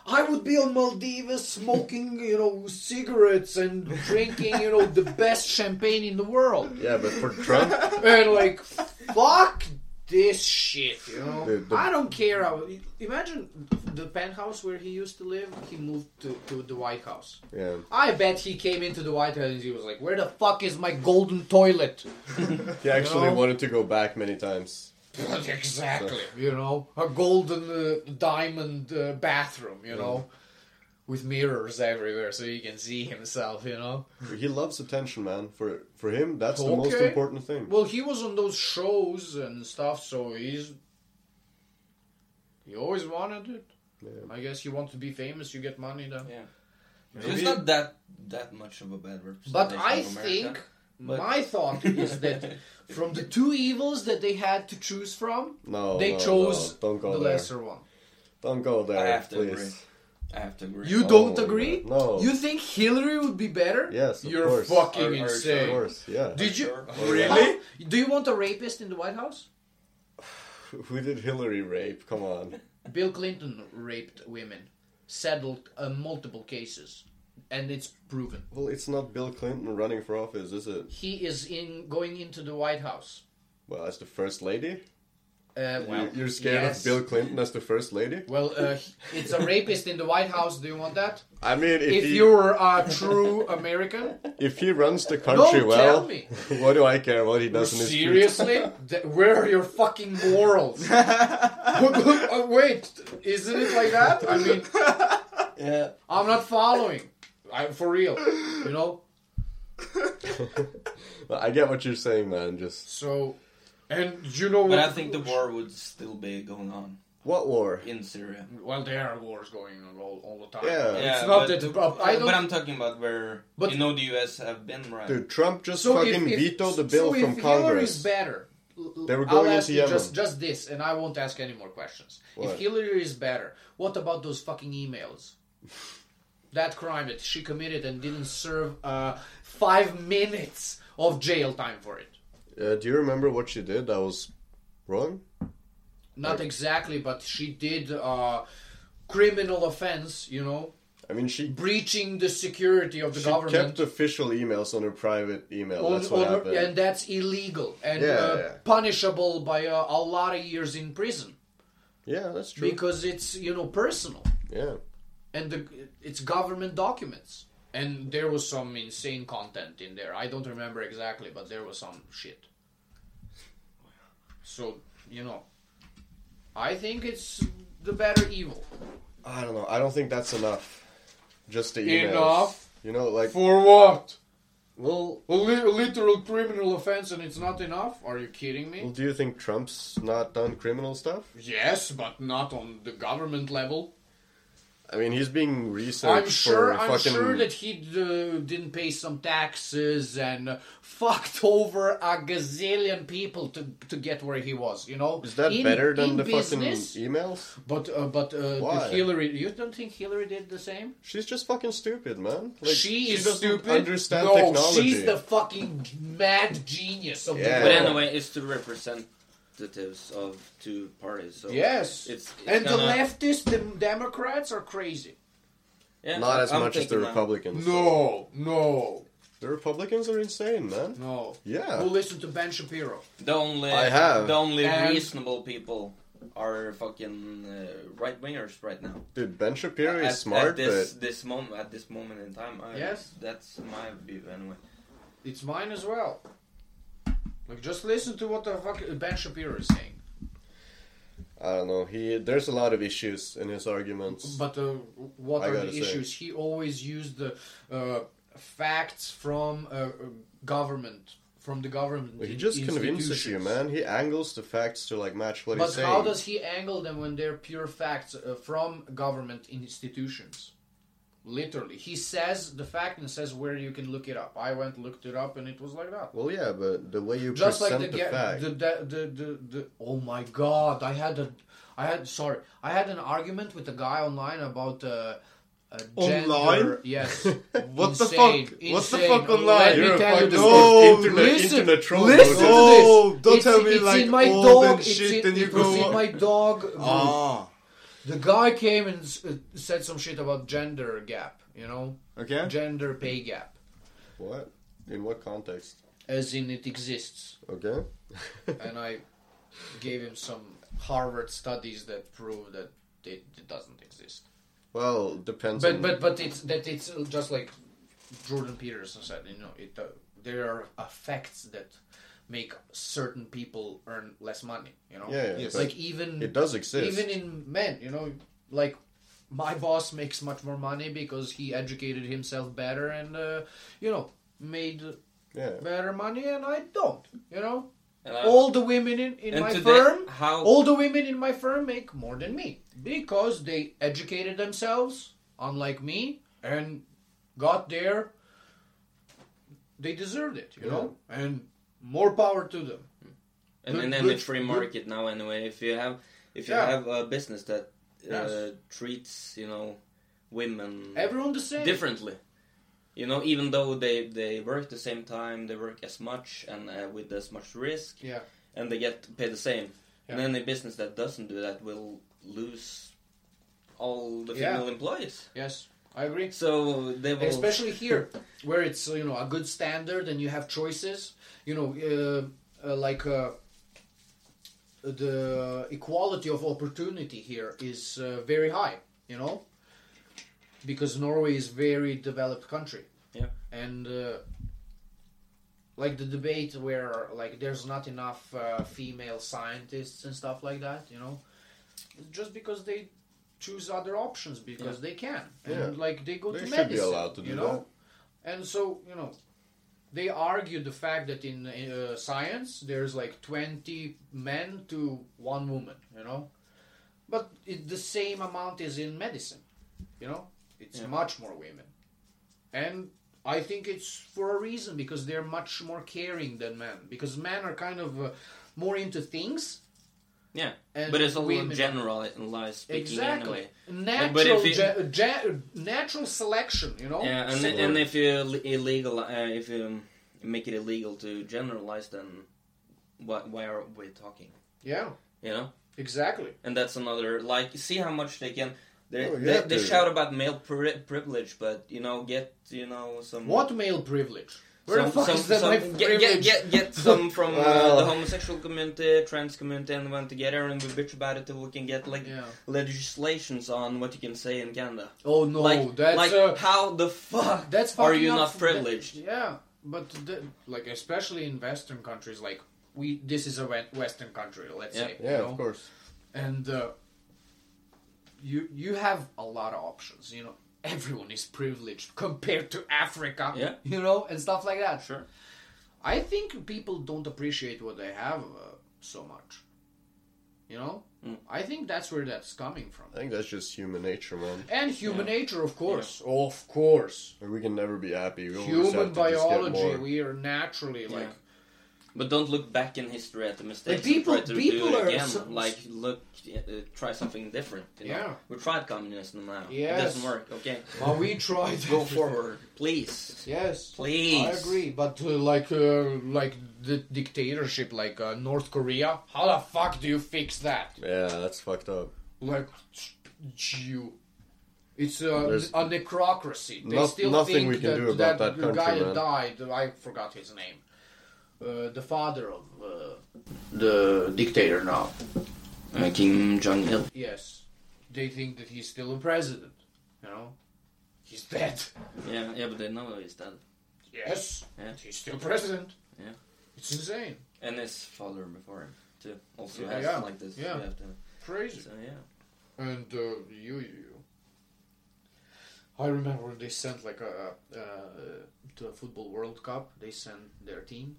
Speaker 5: I would be on Maldives smoking, you know, cigarettes and drinking, you know, the best champagne in the world.
Speaker 4: Yeah, but for Trump,
Speaker 5: [LAUGHS] And like, fuck this shit, you know.
Speaker 4: Dude, the-
Speaker 5: I don't care. How, imagine the penthouse where he used to live. He moved to, to the White House.
Speaker 4: yeah,
Speaker 5: I bet he came into the White House and he was like, "Where the fuck is my golden toilet?" [LAUGHS]
Speaker 4: he actually
Speaker 5: know?
Speaker 4: wanted to go back many times.
Speaker 5: exactly. You know, a golden uh, diamond uh, bathroom. You know, with mirrors everywhere so he can see himself. You know.
Speaker 4: He loves attention, man. For for him, that's the most
Speaker 5: Okay.
Speaker 4: important thing.
Speaker 5: Well, he was on those shows and stuff, so he's he always wanted it.
Speaker 4: Yeah.
Speaker 5: I guess you want to be famous, you get money then.
Speaker 1: Yeah. So it's not that that much of a bad representation.
Speaker 5: But I
Speaker 1: of America.
Speaker 5: think
Speaker 1: But-
Speaker 5: My thought is that
Speaker 1: [LAUGHS]
Speaker 5: from the two evils that they had to choose from,
Speaker 4: No,
Speaker 5: they
Speaker 4: no,
Speaker 5: chose
Speaker 4: no, don't go
Speaker 5: the
Speaker 4: there.
Speaker 5: lesser one.
Speaker 4: Don't go there,
Speaker 1: I have to
Speaker 4: please.
Speaker 1: agree. I have to agree.
Speaker 5: You
Speaker 4: Oh,
Speaker 5: don't agree?
Speaker 4: no.
Speaker 5: You think Hillary would be better?
Speaker 4: Yes, of
Speaker 5: You're
Speaker 4: course.
Speaker 5: fucking
Speaker 1: Are- are you
Speaker 5: insane.
Speaker 4: Of course, yeah.
Speaker 5: Did you
Speaker 1: Sure.
Speaker 5: really? Do you want a rapist in the White House?
Speaker 4: Who did Hillary rape? Come on.
Speaker 5: Bill Clinton raped women, settled uh, multiple cases, and it's proven.
Speaker 4: Well, it's not Bill Clinton running for office, is it?
Speaker 5: He is in going into the White House.
Speaker 4: Well, as the first lady?
Speaker 5: Uh,
Speaker 4: You-
Speaker 5: well,
Speaker 4: You're scared
Speaker 5: yes.
Speaker 4: of Bill Clinton as the first lady?
Speaker 5: Well, uh, he- it's a rapist in the White House. Do you want that?
Speaker 4: I mean, if,
Speaker 5: If
Speaker 4: he,
Speaker 5: you're a true American,
Speaker 4: if he runs the country
Speaker 5: Don't
Speaker 4: well,
Speaker 5: tell me.
Speaker 4: [LAUGHS] what do I care what he does in his future?
Speaker 5: seriously,
Speaker 4: [LAUGHS]
Speaker 5: Th- where are your fucking morals? Look, look, uh, Wait, isn't it like that? I mean,
Speaker 1: Yeah.
Speaker 5: I'm not following. I'm for real, you know.
Speaker 4: Well, I get what you're saying, man. Just
Speaker 5: So, and you know
Speaker 1: But
Speaker 5: what?
Speaker 1: I think the war would still be going on
Speaker 4: what war?
Speaker 1: in Syria.
Speaker 5: Well, there are wars going on all, all the time.
Speaker 4: Yeah.
Speaker 1: Yeah,
Speaker 5: it's not
Speaker 1: but-
Speaker 5: that uh, I
Speaker 1: But
Speaker 5: don't.
Speaker 1: I'm talking about where
Speaker 5: But-
Speaker 1: you know the U.S. have been right.
Speaker 4: Dude, Trump just
Speaker 5: So if,
Speaker 4: fucking
Speaker 5: if,
Speaker 4: vetoed the
Speaker 5: so
Speaker 4: bill
Speaker 5: if
Speaker 4: from
Speaker 5: Hillary's
Speaker 4: Congress.
Speaker 5: better, l- l-
Speaker 4: They were
Speaker 5: I'll
Speaker 4: going
Speaker 5: ask
Speaker 4: into
Speaker 5: you just
Speaker 4: Yemen.
Speaker 5: just this, and I won't ask any more questions.
Speaker 4: What?
Speaker 5: If Hillary is better, what about those fucking emails? that crime that she committed and didn't serve uh, five minutes of jail time for it.
Speaker 4: Uh, do you remember what she did that was wrong?
Speaker 5: Not exactly, but she did uh, criminal offense. You know,
Speaker 4: I mean, she,
Speaker 5: breaching the security of the
Speaker 4: she
Speaker 5: government.
Speaker 4: kept official emails on her private email.
Speaker 5: on-
Speaker 4: That's what
Speaker 5: on-
Speaker 4: happened.
Speaker 5: and that's illegal and
Speaker 4: Yeah,
Speaker 5: uh,
Speaker 4: yeah.
Speaker 5: punishable by uh, a lot of years in prison
Speaker 4: yeah, that's true.
Speaker 5: because it's you know personal
Speaker 4: yeah.
Speaker 5: and the, it's government documents and there was some insane content in there i don't remember exactly but there was some shit so you know i think it's the better evil
Speaker 4: I don't know. I don't think that's enough. Just the emails.
Speaker 5: Enough?
Speaker 4: You know, like
Speaker 5: for what
Speaker 4: well,
Speaker 5: a literal criminal offense and it's not enough are you kidding me
Speaker 4: well. Do you think Trump's not done criminal stuff?
Speaker 5: yes but not on the government level
Speaker 4: I mean, he's being researched
Speaker 5: I'm sure.
Speaker 4: for
Speaker 5: I'm
Speaker 4: fucking.
Speaker 5: sure that he uh, didn't pay some taxes and uh, fucked [LAUGHS] over a gazillion people to to get where he was. You know,
Speaker 4: is that
Speaker 5: In-
Speaker 4: better than
Speaker 5: in
Speaker 4: the
Speaker 5: business,
Speaker 4: fucking emails?
Speaker 5: But uh, but uh,
Speaker 4: Why?
Speaker 5: the Hillary, you don't think Hillary did the same?
Speaker 4: She's just fucking stupid, man. Like,
Speaker 5: she is
Speaker 4: doesn't
Speaker 5: stupid.
Speaker 4: Understand
Speaker 5: no,
Speaker 4: technology.
Speaker 5: she's the fucking mad genius of
Speaker 4: Yeah.
Speaker 5: the
Speaker 1: But
Speaker 5: world.
Speaker 1: anyway, it's the representatives of two parties. So
Speaker 5: Yes,
Speaker 1: it's, it's
Speaker 5: and the
Speaker 1: gonna-
Speaker 5: leftists, the Democrats are crazy.
Speaker 1: yeah,
Speaker 4: Not as
Speaker 1: I'm
Speaker 4: much as the
Speaker 1: thinking that.
Speaker 4: Republicans.
Speaker 5: No, no,
Speaker 4: The Republicans are insane, man.
Speaker 5: no.
Speaker 4: Yeah.
Speaker 5: Go listen to Ben Shapiro.
Speaker 1: The only
Speaker 4: I have.
Speaker 1: the only
Speaker 5: And-
Speaker 1: reasonable people are fucking uh, right wingers right now.
Speaker 4: Dude, Ben Shapiro
Speaker 1: at,
Speaker 4: is smart,
Speaker 1: at this this moment at this moment in time. I,
Speaker 5: Yes.
Speaker 1: that's my view anyway.
Speaker 5: It's mine as well. Like, just listen to what the fuck Ben Shapiro is saying.
Speaker 4: but I don't know. He there's a lot of issues in his arguments.
Speaker 5: But uh, what
Speaker 4: I
Speaker 5: are
Speaker 4: gotta
Speaker 5: the
Speaker 4: say.
Speaker 5: issues? He always used the uh, facts from uh, uh, government, from the government.
Speaker 4: he
Speaker 5: in-
Speaker 4: just convinces you,
Speaker 5: institutions.
Speaker 4: man. He angles the facts to like match what
Speaker 5: But
Speaker 4: he's saying.
Speaker 5: how does he angle them when they're pure facts uh, from government institutions? Literally, he says the fact and says where you can look it up. I went looked it up and it was like that.
Speaker 4: Well, yeah, but the way you
Speaker 5: just like
Speaker 4: present
Speaker 5: the,
Speaker 4: the,
Speaker 5: ga-
Speaker 4: fact.
Speaker 5: the, the, the, the, the oh my god i had a i had sorry i had an argument with a guy online about uh, uh gender-
Speaker 6: Online?
Speaker 5: yes
Speaker 6: [LAUGHS] What the
Speaker 5: Insane,
Speaker 6: fuck? What the
Speaker 5: insane.
Speaker 6: fuck online?
Speaker 5: Let
Speaker 4: You're
Speaker 5: me
Speaker 4: a
Speaker 5: tell you
Speaker 4: fucking
Speaker 5: this.
Speaker 6: No,
Speaker 4: internet,
Speaker 5: listen,
Speaker 4: internet troll.
Speaker 5: listen
Speaker 6: this.
Speaker 4: Logan.
Speaker 5: to
Speaker 6: No,
Speaker 5: this.
Speaker 6: don't
Speaker 5: it's,
Speaker 6: tell me
Speaker 5: it's
Speaker 6: like
Speaker 5: in my
Speaker 6: old
Speaker 5: dog.
Speaker 6: and
Speaker 5: it's
Speaker 6: shit
Speaker 5: in,
Speaker 6: and you
Speaker 5: it was
Speaker 6: go-
Speaker 5: in my
Speaker 6: [LAUGHS]
Speaker 5: dog. group.
Speaker 6: Ah,
Speaker 5: The guy came and s- uh, said some shit about gender gap. You know,
Speaker 6: okay.
Speaker 5: gender pay gap,
Speaker 4: What? In what context?
Speaker 5: as in it exists.
Speaker 4: Okay.
Speaker 5: and I gave him some Harvard studies that prove that it, it doesn't exist.
Speaker 4: well, depends.
Speaker 5: But
Speaker 4: on,
Speaker 5: but but it's that it's just like Jordan Peterson said. You know, it uh, there are effects that make certain people earn less money. You know,
Speaker 4: yeah, yeah
Speaker 6: Yes.
Speaker 4: but
Speaker 5: like even
Speaker 4: it does exist.
Speaker 5: even in men. You know, like. My boss makes much more money because he educated himself better and, uh, you know, made
Speaker 4: yeah.
Speaker 5: better money, and I don't. You know,
Speaker 1: And I-
Speaker 5: all the women in, in
Speaker 1: and
Speaker 5: my
Speaker 1: today,
Speaker 5: firm
Speaker 1: how
Speaker 5: all the women in my firm make more than me because they educated themselves, unlike me, and got their they deserved it, you
Speaker 4: Yeah.
Speaker 5: know? And more power to them.
Speaker 1: And,
Speaker 5: Good-
Speaker 1: and then
Speaker 5: good-
Speaker 1: the free
Speaker 5: good-
Speaker 1: market now anyway. If you have if you
Speaker 5: Yeah.
Speaker 1: have a business that uh,
Speaker 5: Yes.
Speaker 1: treats you know women
Speaker 5: Everyone the same.
Speaker 1: differently, you know, even though they they work the same time, they work as much and uh, with as much risk,
Speaker 5: Yeah.
Speaker 1: and they get paid the same. And
Speaker 5: Yeah.
Speaker 1: any business that doesn't do that will lose all the
Speaker 5: Yeah.
Speaker 1: female employees.
Speaker 5: Yes, I agree.
Speaker 1: So they will
Speaker 5: Especially here, where it's, you know, a good standard and you have choices. You know, uh, uh, like uh, the equality of opportunity here is uh, very high, you know? Because Norway is very developed country.
Speaker 1: Yeah.
Speaker 5: And... Uh, like the debate where like there's not enough uh, female scientists and stuff like that you know just because they choose other options because they can and like they go
Speaker 4: They
Speaker 5: to
Speaker 4: should be
Speaker 5: medicine
Speaker 4: allowed to do
Speaker 5: you know and so you know they argue the fact that in uh, science there's like 20 men to one woman you know but it, the same amount is in medicine you know it's
Speaker 1: Yeah.
Speaker 5: much more women and I think it's for a reason because they're much more caring than men. Because men are kind of uh, more into things.
Speaker 1: yeah.
Speaker 5: and
Speaker 1: But it's all
Speaker 5: women-
Speaker 1: generalized speaking anyway.
Speaker 5: Exactly.
Speaker 1: Uh, but
Speaker 5: Natural,
Speaker 1: if
Speaker 5: ge- ge- natural selection, you know?
Speaker 1: Yeah, and,
Speaker 5: Oh, So-
Speaker 1: and if you ill- illegal, uh, if you um, make it illegal to generalize, then why, why are we talking?
Speaker 5: yeah,
Speaker 1: You know,
Speaker 5: exactly.
Speaker 1: and that's another like. See how much they can. They
Speaker 4: Oh, you
Speaker 1: they,
Speaker 4: have
Speaker 1: they
Speaker 4: to-
Speaker 1: shout about male pri- privilege, but you know, get you know some
Speaker 5: What male privilege? Where
Speaker 1: Some,
Speaker 5: the fuck
Speaker 1: some,
Speaker 5: is that
Speaker 1: some-
Speaker 5: my
Speaker 1: get,
Speaker 5: privilege?
Speaker 1: get, get,
Speaker 5: [LAUGHS]
Speaker 1: get some from uh,
Speaker 4: Well.
Speaker 1: the homosexual community, trans community, and everyone together, and we bitch about it till we can get like
Speaker 5: Yeah.
Speaker 1: legislations on what you can say in Canada.
Speaker 5: Oh no,
Speaker 1: like,
Speaker 5: that's
Speaker 1: like
Speaker 5: uh,
Speaker 1: how the fuck
Speaker 5: that's
Speaker 1: are
Speaker 5: fucking
Speaker 1: you
Speaker 5: up-
Speaker 1: not privileged?
Speaker 5: that- yeah, but the, like especially in Western countries, like we this is a we- Western country, let's
Speaker 1: Yeah.
Speaker 5: say. you
Speaker 4: Yeah,
Speaker 5: know?
Speaker 4: of course.
Speaker 5: and uh, you you have a lot of options you know everyone is privileged compared to africa
Speaker 1: Yeah.
Speaker 5: you know and stuff like that
Speaker 1: Sure.
Speaker 5: i think people don't appreciate what they have uh, so much you know
Speaker 1: Mm.
Speaker 5: i think that's where that's coming from
Speaker 4: I think that's just human nature, man.
Speaker 5: and human nature of course of course
Speaker 4: Like, We can never be happy. We always
Speaker 5: human
Speaker 4: have to just get more.
Speaker 5: biology we are naturally
Speaker 1: Yeah.
Speaker 5: like
Speaker 1: But don't look back in history at the mistakes.
Speaker 5: But people-
Speaker 1: and try to
Speaker 5: people
Speaker 1: do it
Speaker 5: are
Speaker 1: again.
Speaker 5: so-
Speaker 1: like look, uh, try something different. You know?
Speaker 5: Yeah.
Speaker 1: we tried communism now.
Speaker 5: Yes.
Speaker 1: it doesn't work. Okay,
Speaker 5: but we
Speaker 1: [LAUGHS]
Speaker 5: tried
Speaker 1: go forward, please,
Speaker 5: yes
Speaker 1: please.
Speaker 5: I agree, but uh, like uh, like the dictatorship, like uh, North Korea. How the fuck do you fix that?
Speaker 4: Yeah, that's fucked up.
Speaker 5: Like you, it's a,
Speaker 4: There's
Speaker 5: a necrocracy. They
Speaker 4: no-
Speaker 5: still
Speaker 4: nothing
Speaker 5: think
Speaker 4: we can
Speaker 5: that,
Speaker 4: do about that country,
Speaker 5: guy
Speaker 4: man.
Speaker 5: died. I forgot his name. Uh, the father of uh, the dictator now.
Speaker 1: Uh, Kim Jong Il.
Speaker 5: Yes, they think that he's still a president. You know, he's dead.
Speaker 1: Yeah, yeah, but they know he's dead.
Speaker 5: Yes,
Speaker 1: Yeah.
Speaker 5: he's still president.
Speaker 1: Yeah.
Speaker 5: it's insane,
Speaker 1: And his father before him too. Also
Speaker 5: Yeah,
Speaker 1: has
Speaker 5: yeah,
Speaker 1: like this.
Speaker 5: yeah.
Speaker 1: You have to,
Speaker 5: crazy.
Speaker 1: so uh, yeah.
Speaker 5: And uh, you, you, you. I remember when they sent like a uh, to a football World Cup. They sent their team,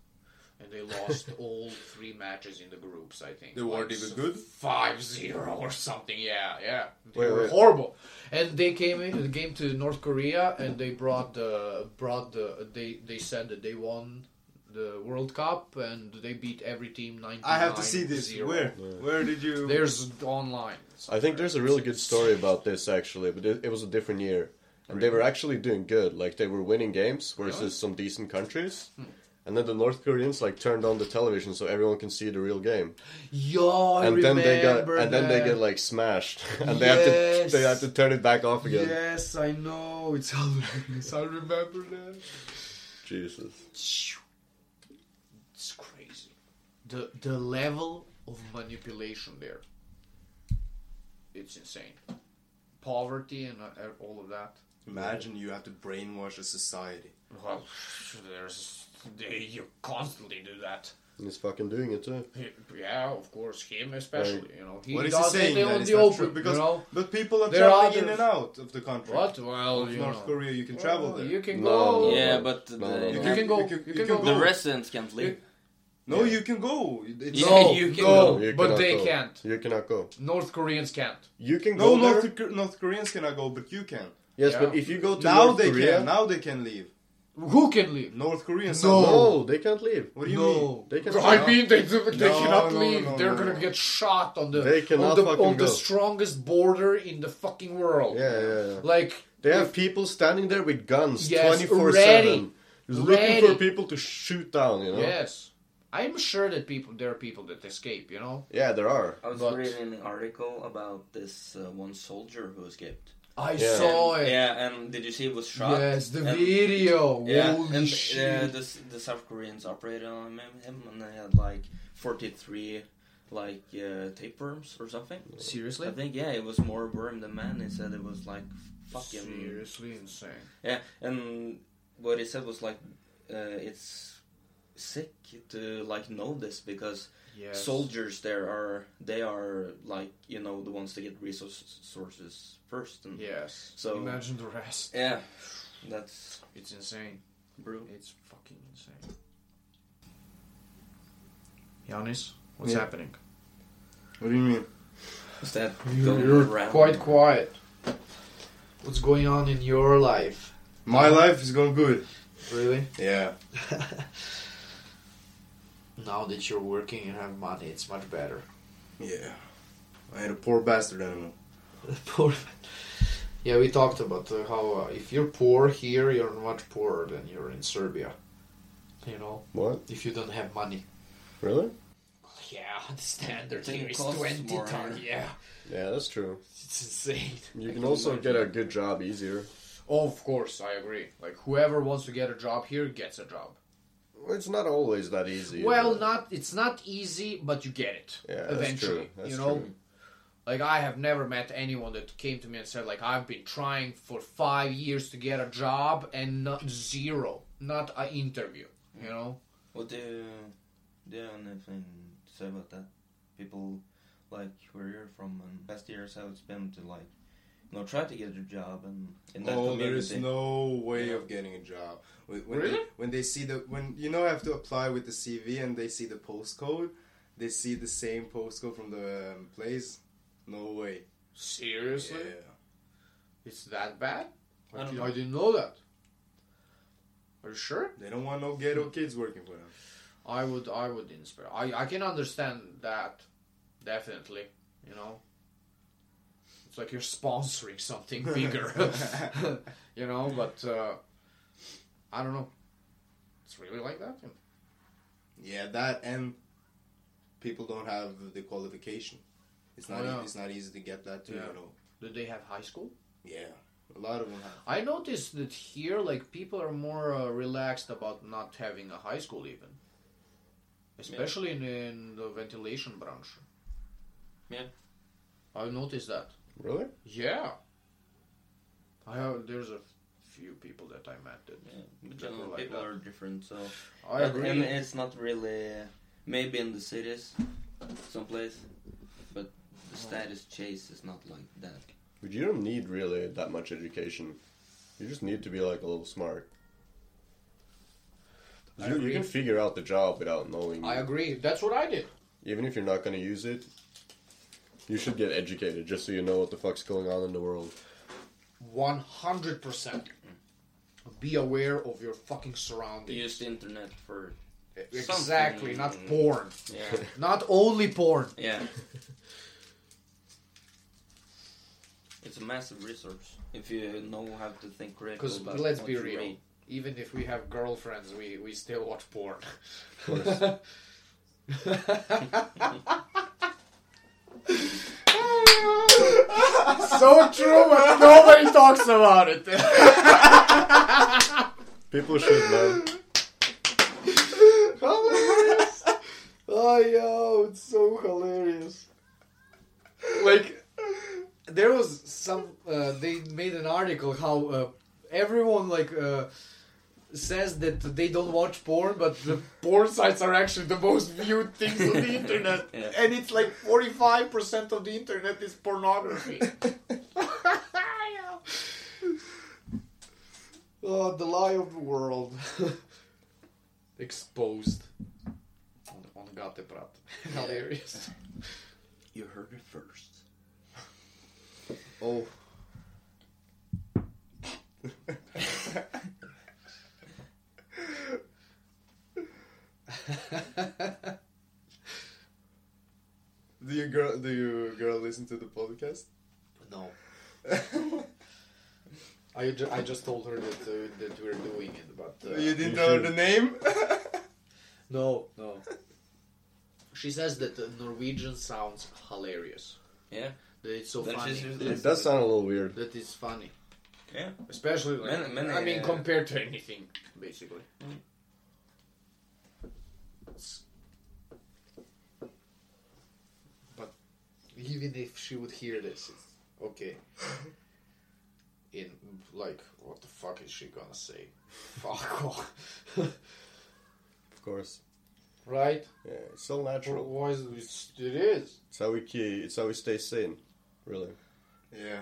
Speaker 5: and they
Speaker 2: [LAUGHS]
Speaker 5: lost all three matches in the groups. I think
Speaker 2: They weren't even good?
Speaker 5: Five zero or something. Yeah, yeah. They
Speaker 4: Wait,
Speaker 5: were
Speaker 4: wait.
Speaker 5: horrible. And they came in the game to North Korea, and they brought the brought the they they said that they won the World Cup, and they beat every team ninety.
Speaker 2: I have to see this. Where? Where did you?
Speaker 5: There's online.
Speaker 4: I think there's a really good story about this actually, but it, it was a different year, and they were actually doing good. Like they were winning games versus some decent countries,
Speaker 5: Hmm.
Speaker 4: and then the North Koreans like turned on the television so everyone can see the real game,
Speaker 5: Yo, I
Speaker 4: and then they got
Speaker 5: remember
Speaker 4: and then they
Speaker 5: that.
Speaker 4: get like smashed, [LAUGHS] and they have to
Speaker 5: Yes.
Speaker 4: they have to turn it back off again.
Speaker 5: Yes, I know. [LAUGHS] It's hilarious. I remember that.
Speaker 4: Jesus,
Speaker 5: It's crazy. The the level of manipulation there. It's insane. Poverty and uh, all of that.
Speaker 2: Imagine you have to brainwash a society.
Speaker 5: Well, there's they, you constantly do that.
Speaker 4: and he's fucking doing it too.
Speaker 5: Yeah, of course, him especially. You know, he
Speaker 2: what is he
Speaker 5: does
Speaker 2: saying?
Speaker 5: it
Speaker 2: that
Speaker 5: on
Speaker 2: is
Speaker 5: the
Speaker 2: not
Speaker 5: open.
Speaker 2: true? Because
Speaker 5: you know
Speaker 2: but people are
Speaker 5: There are
Speaker 2: traveling
Speaker 5: others.
Speaker 2: in and out of the country.
Speaker 5: what? Well,
Speaker 2: Of
Speaker 5: you
Speaker 2: North
Speaker 5: know.
Speaker 2: Korea, you can travel
Speaker 5: Well,
Speaker 2: there.
Speaker 5: You can
Speaker 4: No,
Speaker 5: go.
Speaker 4: no, no.
Speaker 1: Yeah, but
Speaker 4: No,
Speaker 1: the,
Speaker 4: no, no.
Speaker 5: You can go. You can, go.
Speaker 1: the residents can't leave.
Speaker 2: No, you can go. It's
Speaker 1: Yeah,
Speaker 5: No,
Speaker 1: you can
Speaker 5: no,
Speaker 1: go.
Speaker 4: You
Speaker 5: but
Speaker 4: cannot
Speaker 5: they
Speaker 4: go.
Speaker 5: can't.
Speaker 4: You cannot go.
Speaker 5: North Koreans can't.
Speaker 4: You can
Speaker 2: no
Speaker 4: go there.
Speaker 2: North, North Koreans cannot go, but you can.
Speaker 4: yes,
Speaker 5: Yeah.
Speaker 4: but if you go to
Speaker 2: Now
Speaker 4: North
Speaker 2: they
Speaker 4: Korea,
Speaker 2: can. Now they can leave.
Speaker 5: Who can leave?
Speaker 2: North Korean said
Speaker 5: No.
Speaker 4: No, they can't leave.
Speaker 2: What do you mean?
Speaker 4: They can
Speaker 5: I mean, they, they
Speaker 2: No,
Speaker 5: cannot
Speaker 2: no,
Speaker 5: leave.
Speaker 2: no, no,
Speaker 5: They're
Speaker 2: no.
Speaker 5: gonna get shot on the
Speaker 4: They
Speaker 5: on
Speaker 4: cannot
Speaker 5: the,
Speaker 4: fucking
Speaker 5: on the
Speaker 4: go.
Speaker 5: strongest border in the fucking world.
Speaker 4: Yeah, yeah, yeah.
Speaker 5: Like
Speaker 4: They have people standing there with guns
Speaker 5: Yes,
Speaker 4: 24
Speaker 5: ready.
Speaker 4: 7. Looking
Speaker 5: Ready.
Speaker 4: for people to shoot down, you know?
Speaker 5: yes, I'm sure that people there are people that escape. You know,
Speaker 4: Yeah, there are.
Speaker 1: I was
Speaker 5: But-
Speaker 1: reading an article about this uh, one soldier who escaped.
Speaker 5: I
Speaker 4: Yeah.
Speaker 5: saw it.
Speaker 1: Yeah, and did you see he was shot?
Speaker 5: Yes, the
Speaker 1: and,
Speaker 5: video.
Speaker 1: Yeah,
Speaker 5: Holy
Speaker 1: and
Speaker 5: shit!
Speaker 1: Uh, the S- the South Koreans operated on him, him and they had like forty three like uh, tapeworms or something.
Speaker 5: Seriously?
Speaker 1: I think yeah, it was more worm than man. He said it was like fucking
Speaker 5: Seriously insane.
Speaker 1: yeah, and what he said was like uh, it's sick to like know this because
Speaker 5: Yes.
Speaker 1: soldiers there are they are like you know the ones that get resources first and
Speaker 5: Yes.
Speaker 1: So-
Speaker 5: imagine the rest.
Speaker 1: yeah that's
Speaker 5: It's insane.
Speaker 1: brutal
Speaker 5: It's fucking insane. Giannis, what's
Speaker 2: Yeah.
Speaker 5: happening?
Speaker 2: What do you mean?
Speaker 1: is that
Speaker 5: You're,
Speaker 1: going around?
Speaker 5: quite quiet. What's going on in your life?
Speaker 2: My life is going good.
Speaker 5: Really?
Speaker 2: Yeah.
Speaker 5: now that you're working and have money, it's much better. [LAUGHS]
Speaker 2: Yeah. I ain't a poor bastard anymore.
Speaker 5: Poor. Yeah, we talked about uh, how uh, if you're poor here, you're much poorer than you're in Serbia. You know,
Speaker 4: What?
Speaker 5: if you don't have money.
Speaker 4: Really?
Speaker 5: Yeah, the standard
Speaker 1: Thing
Speaker 5: here is
Speaker 1: costs
Speaker 5: 20
Speaker 1: more,
Speaker 5: ton.
Speaker 1: huh?
Speaker 5: Yeah,
Speaker 4: Yeah, that's true.
Speaker 5: it's insane.
Speaker 4: You
Speaker 1: I
Speaker 4: can
Speaker 1: can
Speaker 4: also
Speaker 1: imagine.
Speaker 4: get a good job easier.
Speaker 5: Oh, of course, I agree. Like, whoever wants to get a job here gets a job.
Speaker 4: It's not always that easy.
Speaker 5: Well,
Speaker 4: but-
Speaker 5: not it's not easy, but you get it
Speaker 4: Yeah, that's
Speaker 5: eventually.
Speaker 4: true. That's
Speaker 5: you know,
Speaker 4: true.
Speaker 5: like I have never met anyone that came to me and said like I've been trying for five years to get a job and not zero, not an interview. You know,
Speaker 1: what do you do you have anything to say about that people like where you're from and past years how it's been to like you know try to get a job and in that
Speaker 2: Oh,
Speaker 1: community
Speaker 2: there is no way of getting a job. When, when
Speaker 5: Really?
Speaker 2: They, when they see the when you know I have to apply with the CV and they see the postcode, they see the same postcode from the um, place. No way.
Speaker 5: seriously, it's that bad.
Speaker 1: I
Speaker 5: I,
Speaker 1: don't
Speaker 5: did,
Speaker 1: know.
Speaker 5: I didn't know that. Are you sure?
Speaker 2: They don't want no ghetto kids working for them.
Speaker 5: I would, I would inspire. I, I can understand that, definitely. You know, it's like you're sponsoring something bigger. [LAUGHS] you know, but uh, I don't know. It's really like that. you know.
Speaker 2: Yeah, that and people don't have the qualification. It's not e-,
Speaker 5: Oh, yeah.
Speaker 2: it's not easy to get that too.
Speaker 5: Yeah.
Speaker 2: You know.
Speaker 5: Do they have high school?
Speaker 2: Yeah, a lot of them have.
Speaker 5: I noticed that here, like people are more uh, relaxed about not having a high school, even, especially in, in the ventilation branch.
Speaker 1: Yeah.
Speaker 5: I noticed that.
Speaker 4: Really?
Speaker 5: Yeah. I have, there's a few people that I met that
Speaker 1: yeah, but
Speaker 5: People
Speaker 1: generally
Speaker 5: like
Speaker 1: people
Speaker 5: that.
Speaker 1: are different so
Speaker 5: I
Speaker 1: And-
Speaker 5: agree.
Speaker 1: and it's not really maybe in the cities someplace but
Speaker 2: Oh.
Speaker 1: the status chase is not like that
Speaker 4: But you don't need really that much education. You just need to be like a little smart.
Speaker 5: I
Speaker 4: You,
Speaker 5: agree.
Speaker 4: you can figure out the job without knowing.
Speaker 5: I agree. That's what I did.
Speaker 4: Even if you're not going to use it, you should get educated just so you know what the fuck's going on in the world.
Speaker 5: One hundred percent. Be aware of your fucking
Speaker 1: They
Speaker 5: surroundings. E-,
Speaker 1: use the internet for
Speaker 5: Exactly. Not
Speaker 1: Something-
Speaker 5: porn.
Speaker 1: [LAUGHS] yeah
Speaker 5: Not only porn.
Speaker 1: yeah [LAUGHS] it's a massive resource if you know how to think correctly
Speaker 5: Because
Speaker 1: about
Speaker 5: let's
Speaker 1: what
Speaker 5: be
Speaker 1: you
Speaker 5: real.
Speaker 1: read.
Speaker 5: Even if we have girlfriends, we we still watch porn. [LAUGHS]
Speaker 4: course.
Speaker 5: so true, but nobody talks about it. [LAUGHS]
Speaker 4: People should know.
Speaker 5: Oh, yo, it's so hilarious. Like, there was some. Uh, they made an article how uh, everyone, like, uh, says that they don't watch porn, but the porn sites are actually the most viewed things on the internet.
Speaker 1: Yeah.
Speaker 5: And it's like 45% of the internet is
Speaker 2: [LAUGHS]
Speaker 5: pornography. oh, the lie of the world. [LAUGHS] Exposed. On, on Gateprat. Hilarious. [LAUGHS]
Speaker 1: you heard it first
Speaker 5: Oh.
Speaker 2: listen to the podcast?
Speaker 5: No. [LAUGHS] I, ju- I just told her that uh, that we're doing it, but uh,
Speaker 2: you didn't
Speaker 4: you
Speaker 2: know
Speaker 4: should.
Speaker 2: the name?
Speaker 5: no, no. [LAUGHS] She says that the Norwegian sounds hilarious.
Speaker 1: Yeah.
Speaker 5: That it's so
Speaker 1: That
Speaker 5: funny.
Speaker 1: she's used-
Speaker 4: [LAUGHS] It does sound a little weird.
Speaker 5: that it's funny,
Speaker 1: Yeah.
Speaker 5: especially like,
Speaker 1: Many- many,
Speaker 5: I mean
Speaker 1: uh,
Speaker 5: compared to anything, basically. But even if she would hear this, it's okay. In like, what the fuck is she gonna say? Fuck off, [LAUGHS]
Speaker 4: Of course.
Speaker 5: right?
Speaker 4: Yeah, it's so natural.
Speaker 5: Why is it? It is.
Speaker 4: It's how we key. It's how we stay sane. Really.
Speaker 2: [LAUGHS] Yeah.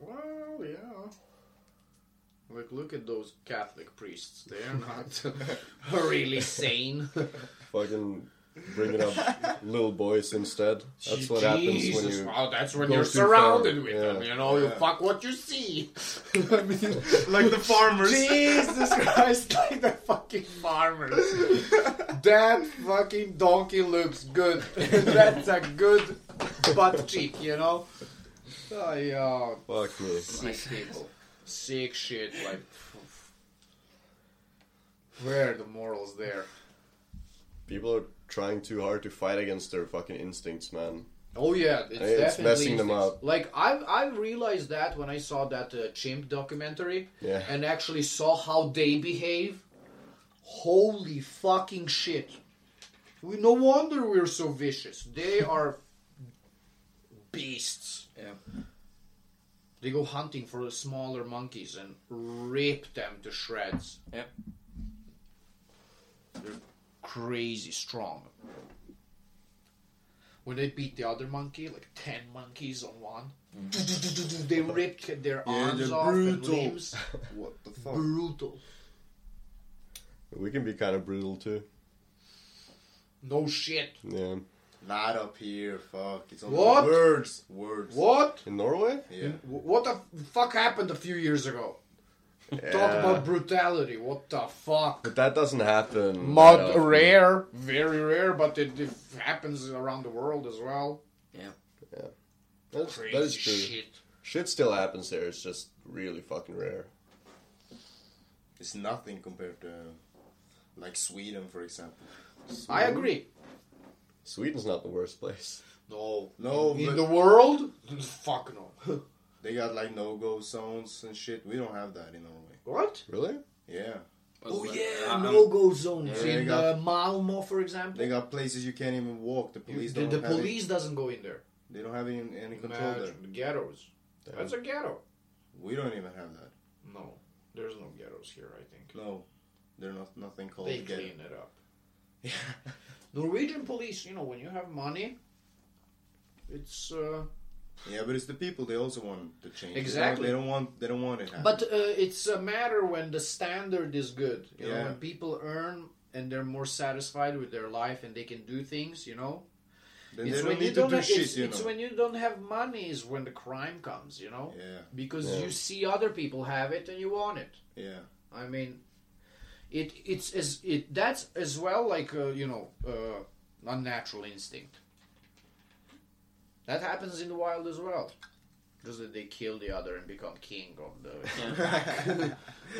Speaker 5: Well, yeah. Like, look at those Catholic priests. They're not [LAUGHS] really sane. [LAUGHS]
Speaker 4: Fucking bringing up little boys instead. That's what happens when
Speaker 5: Jesus,
Speaker 4: you.
Speaker 5: wow, that's when
Speaker 4: go
Speaker 5: you're
Speaker 4: too
Speaker 5: surrounded
Speaker 4: far.
Speaker 5: with
Speaker 4: Yeah.
Speaker 5: them. You know, you
Speaker 2: Yeah.
Speaker 5: fuck what you
Speaker 4: [LAUGHS]
Speaker 5: see. [LAUGHS] I mean,
Speaker 2: Like [LAUGHS] the
Speaker 5: [LAUGHS]
Speaker 2: farmers.
Speaker 5: Jesus Christ, like the fucking farmers. [LAUGHS] that fucking donkey looks good. [LAUGHS] that's a good butt cheek, you know. Oh, yeah.
Speaker 4: Fuck me.
Speaker 5: sick people. Sick shit, like. Where are the morals there?
Speaker 4: People are trying too hard to fight against their fucking instincts, man.
Speaker 5: Oh yeah, it's,
Speaker 4: Hey, it's
Speaker 5: definitely
Speaker 4: messing them
Speaker 5: instincts.
Speaker 4: up.
Speaker 5: Like I, I realized that when I saw that uh, chimp documentary,
Speaker 4: Yeah.
Speaker 5: and actually saw how they behave. Holy fucking shit! We no wonder we're so vicious.
Speaker 4: [LAUGHS]
Speaker 5: They are beasts.
Speaker 1: Yeah.
Speaker 5: They go hunting for the smaller monkeys and rip them to shreds.
Speaker 1: Yeah.
Speaker 5: They're crazy strong. When they beat the other monkey, like ten monkeys on one, they ripped their arms
Speaker 2: Mm. they're
Speaker 5: off and
Speaker 2: brutal.
Speaker 5: limbs.
Speaker 2: [LAUGHS] What the fuck?
Speaker 5: brutal.
Speaker 4: We can be kind of brutal too.
Speaker 5: No shit.
Speaker 4: Yeah.
Speaker 2: Not up here, fuck. It's only
Speaker 5: What?
Speaker 2: words. Words.
Speaker 5: What?
Speaker 4: In Norway?
Speaker 2: Yeah.
Speaker 5: What the fuck happened a few years ago? Talk
Speaker 4: Yeah.
Speaker 5: about brutality. What the fuck?
Speaker 4: But that doesn't happen.
Speaker 5: Mod
Speaker 4: that often.
Speaker 5: rare, very rare, but it, it happens around the world as well.
Speaker 4: That's,
Speaker 5: Crazy
Speaker 4: that is true. Shit.
Speaker 5: shit.
Speaker 4: still happens there. It's just really fucking rare.
Speaker 2: It's nothing compared to like Sweden, for example.
Speaker 5: I agree.
Speaker 4: Sweden's not the worst place.
Speaker 5: No,
Speaker 2: No,
Speaker 5: in
Speaker 2: but-
Speaker 5: the world, [LAUGHS] fuck no. [LAUGHS]
Speaker 2: They got like no go zones and shit. We don't have that in Norway.
Speaker 5: what?
Speaker 4: Really?
Speaker 2: Yeah.
Speaker 5: Oh yeah,
Speaker 2: "Ah,
Speaker 1: Um,
Speaker 5: no go zones
Speaker 2: Yeah, they
Speaker 5: in
Speaker 2: got-
Speaker 5: uh, Malmo, for example.
Speaker 2: They got places you can't even walk. The
Speaker 5: You-
Speaker 2: police
Speaker 5: the
Speaker 2: don't
Speaker 5: the
Speaker 2: have any-
Speaker 5: police doesn't go in there.
Speaker 2: they don't have any, any control there.
Speaker 5: Imagine, Ghettos. That's a ghetto.
Speaker 2: We don't even have that.
Speaker 5: No, there's no ghettos here. I think
Speaker 2: No. They're not nothing called
Speaker 5: they
Speaker 2: ghetto.
Speaker 5: clean it
Speaker 2: [LAUGHS]
Speaker 5: up. Norwegian police, you know, when you have money, it's. Uh,
Speaker 2: Yeah, but it's the people they also want to change. They don't-
Speaker 5: Exactly.
Speaker 2: They don't, want they don't want it happening.
Speaker 5: But uh, it's a matter when the standard is good. You know,
Speaker 2: Yeah.
Speaker 5: when people earn and they're more satisfied with their life and they can do things, you know.
Speaker 2: then
Speaker 5: it's
Speaker 2: they
Speaker 5: when
Speaker 2: don't need
Speaker 5: you
Speaker 2: to
Speaker 5: don't
Speaker 2: do
Speaker 5: ha-
Speaker 2: shit,
Speaker 5: it's,
Speaker 2: you
Speaker 5: it's
Speaker 2: know.
Speaker 5: when you don't have money is when the crime comes, you know?
Speaker 2: Yeah,
Speaker 5: Because
Speaker 4: Yeah.
Speaker 5: you see other people have it and you want it.
Speaker 2: yeah.
Speaker 5: I mean, it it's as it that's as well like uh, you know uh, unnatural instinct. That happens in the wild as well. Just that they kill the other and become king of the.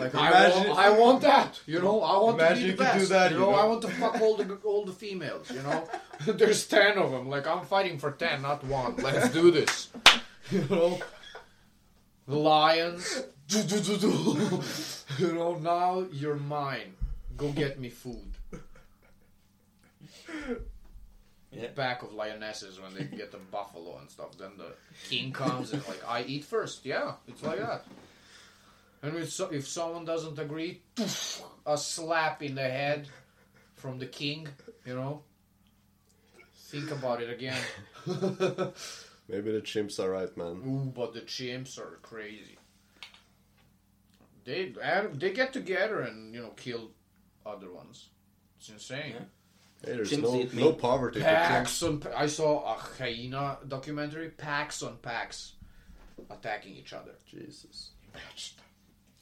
Speaker 5: like I,
Speaker 2: Imagine-
Speaker 5: want, I want that, you know. I want
Speaker 2: Imagine
Speaker 5: to
Speaker 2: you
Speaker 5: be the
Speaker 2: could do
Speaker 5: best.
Speaker 2: that,
Speaker 5: you
Speaker 2: you
Speaker 5: know?
Speaker 2: know.
Speaker 5: I want to fuck all the all the females, you know. [LAUGHS] There's ten of them. Like I'm fighting for ten, not one. Let's do this, [LAUGHS] you know. The lions. [LAUGHS] Do, do, do, do. [LAUGHS] you know, now you're mine. Go get me food.
Speaker 1: Yeah.
Speaker 5: Back of lionesses when they get the buffalo and stuff. Then the king comes and like I eat first. Yeah, it's like that. And if, so, if someone doesn't agree, a slap in the head from the king. You know. Think about it again.
Speaker 4: Maybe the chimps are right, man.
Speaker 5: Ooh, but the chimps are crazy. They and they get together and you know kill other ones. It's insane.
Speaker 1: Yeah.
Speaker 4: Hey, there's
Speaker 1: Chimps
Speaker 4: no,
Speaker 1: eat
Speaker 4: no
Speaker 1: meat.
Speaker 4: poverty for chimps.
Speaker 5: Packs on. I saw a hyena documentary. Packs on packs, attacking each other.
Speaker 4: Jesus.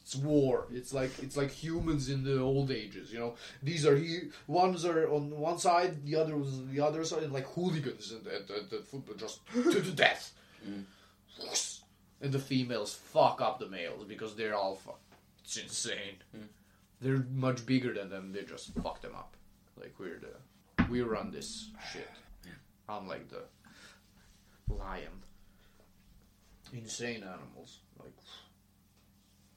Speaker 5: It's war. It's like it's like humans in the old ages. You know, these are he ones are on one side, the other was the other side, and like hooligans and, and, and, and football just [GASPS] to the death. And the females fuck up the males because they're alpha. It's insane. They're much bigger than them. They just fuck them up. Like we're the we run this shit. I'm like the lion. Insane animals. Like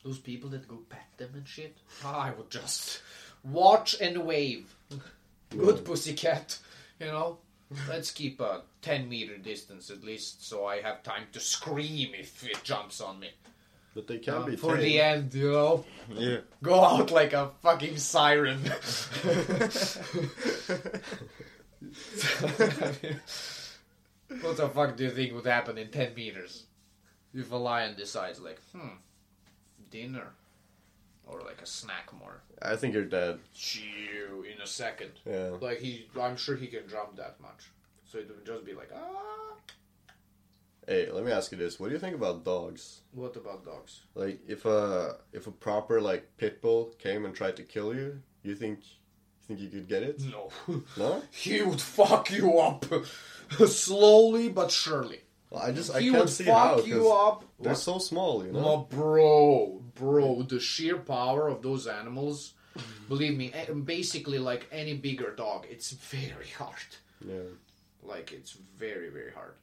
Speaker 5: those people that go pet them and shit. Ah, I would just watch and wave. Good pussycat, you know. Let's keep a 10 meter distance at least so I have time to scream if it jumps on me.
Speaker 4: But they can be
Speaker 5: Uh, Um, For the
Speaker 4: tamed.
Speaker 5: end, you know.
Speaker 2: Yeah.
Speaker 5: Go out like a fucking siren. [LAUGHS] what the fuck do you think would happen in 10 meters if a lion decides, like, hmm, dinner? Or like a snack more.
Speaker 4: I think you're dead.
Speaker 5: Chew in a second.
Speaker 4: Yeah.
Speaker 5: Like, he, I'm sure he can jump that much. So it would just be like, ah.
Speaker 4: Hey, let me ask you this: What do you think about dogs?
Speaker 5: What about dogs?
Speaker 4: Like, if a if a proper like pit bull came and tried to kill you, you think you think you could get it?
Speaker 5: No.
Speaker 4: No.
Speaker 5: he would fuck you up. [LAUGHS] Slowly but surely.
Speaker 4: Well, I just I
Speaker 5: he
Speaker 4: can't
Speaker 5: would
Speaker 4: see
Speaker 5: fuck
Speaker 4: how. 'cause
Speaker 5: you up.
Speaker 4: They're so small, you know.
Speaker 5: Oh, bro, bro, the sheer power of those animals. Believe me, a- basically like any bigger dog, it's very hard.
Speaker 4: Yeah. [LAUGHS]
Speaker 5: Like it's very very hard.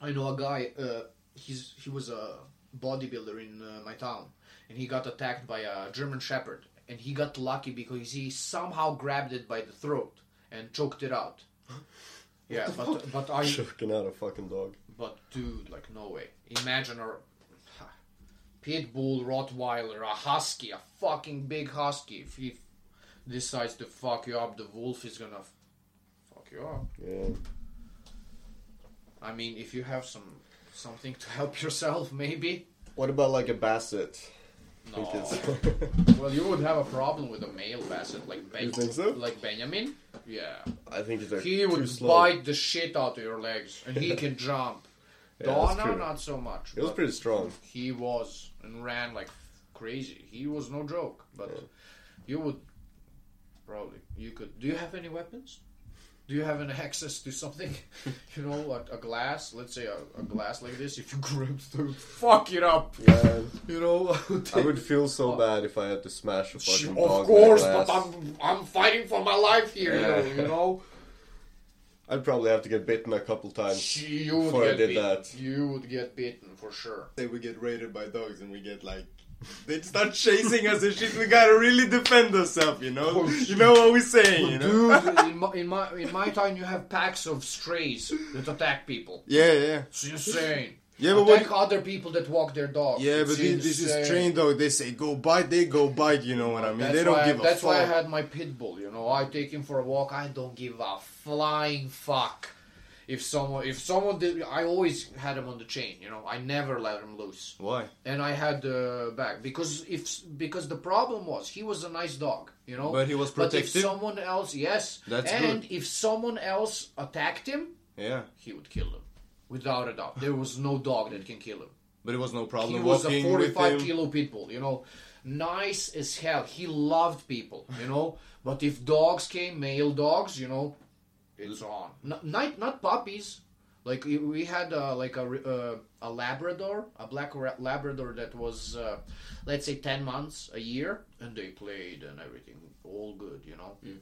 Speaker 5: I know a guy. Uh, he's he was a bodybuilder in uh, my town, and he got attacked by a German Shepherd, and he got lucky because he somehow grabbed it by the throat and choked it out. Yeah, but but I
Speaker 4: Choking out a fucking dog.
Speaker 5: but dude, like no way. Imagine a pit bull, Rottweiler, a husky, a fucking big husky. If he decides to fuck you up, the wolf is gonna f- fuck you up.
Speaker 4: Yeah.
Speaker 5: I mean, if you have some something to help [LAUGHS] yourself, maybe.
Speaker 4: What about like a basset?
Speaker 5: No.
Speaker 4: Think it's-
Speaker 5: Well, you would have a problem with a male basset like ben-
Speaker 4: You think so?
Speaker 5: like Benjamin. Yeah,
Speaker 4: [LAUGHS] I think they're
Speaker 5: he
Speaker 4: too
Speaker 5: would
Speaker 4: slow.
Speaker 5: bite the shit out of your legs, and he
Speaker 4: [LAUGHS]
Speaker 5: can jump.
Speaker 4: Yeah, that's
Speaker 5: Donna,
Speaker 4: true.
Speaker 5: not so much.
Speaker 4: It was
Speaker 5: but-
Speaker 4: pretty strong.
Speaker 5: he was and ran like crazy. He was no joke. But you would probably you could. Do you have any weapons? Do you have any access to
Speaker 4: [LAUGHS]
Speaker 5: something? you know, like a glass. Let's say a, a glass like this. If you grabbed the fuck it up,
Speaker 4: Yeah.
Speaker 5: you know.
Speaker 4: I
Speaker 5: [LAUGHS]
Speaker 4: would feel so bad if I had to smash a fucking
Speaker 5: Of
Speaker 4: dog.
Speaker 5: course,
Speaker 4: with a
Speaker 5: but
Speaker 4: glass.
Speaker 5: I'm I'm fighting for my life here. You know. You
Speaker 4: [LAUGHS]
Speaker 5: know?
Speaker 4: I'd probably have to get bitten a couple times.
Speaker 5: you would
Speaker 4: Before I
Speaker 5: get
Speaker 4: did
Speaker 5: bitten.
Speaker 4: that.
Speaker 5: You would get bitten for
Speaker 4: [LAUGHS]
Speaker 5: sure.
Speaker 2: [LAUGHS] Say we get raided by dogs and we get like they start chasing us and shit. We gotta really defend ourselves, you know. you know what we're saying, you know.
Speaker 5: Oh, Dude, in my, in my in my time, you have packs of strays that attack people.
Speaker 2: [LAUGHS] Yeah, yeah,
Speaker 5: It's insane.
Speaker 2: yeah. But
Speaker 5: attack
Speaker 2: what?
Speaker 5: other people that walk their dogs.
Speaker 2: Yeah,
Speaker 5: It's
Speaker 2: but this, this
Speaker 5: insane.
Speaker 2: is trained dog. They say go bite, they go bite. You know what I mean?
Speaker 5: That's
Speaker 2: they don't
Speaker 5: why,
Speaker 2: give a
Speaker 5: That's
Speaker 2: fuck.
Speaker 5: why I had my pit bull. You know, I take him for a walk. I don't give a flying fuck. If someone, if someone did, I always had him on the chain. You know, I never let him loose.
Speaker 2: Why?
Speaker 5: And I had the back because if because the problem was he was a nice dog, you know.
Speaker 2: But he was
Speaker 5: But
Speaker 2: protective?
Speaker 5: if someone else, yes,
Speaker 2: That's
Speaker 5: and
Speaker 2: good.
Speaker 5: if someone else attacked him,
Speaker 2: Yeah,
Speaker 5: he would kill them, without a doubt. There was no dog that can kill him.
Speaker 2: but it was no problem
Speaker 5: he was a
Speaker 2: walking with him.
Speaker 5: 45 kilo pitbull, you know, nice as hell. He loved people, you know. but if dogs came, male dogs, you know, it's on. N- not not puppies. Like we- we had uh, like a re- uh, a Labrador, a black ra- Labrador that was, uh, let's say, ten months, a year, and they played and everything, all good, you know.
Speaker 2: Mm.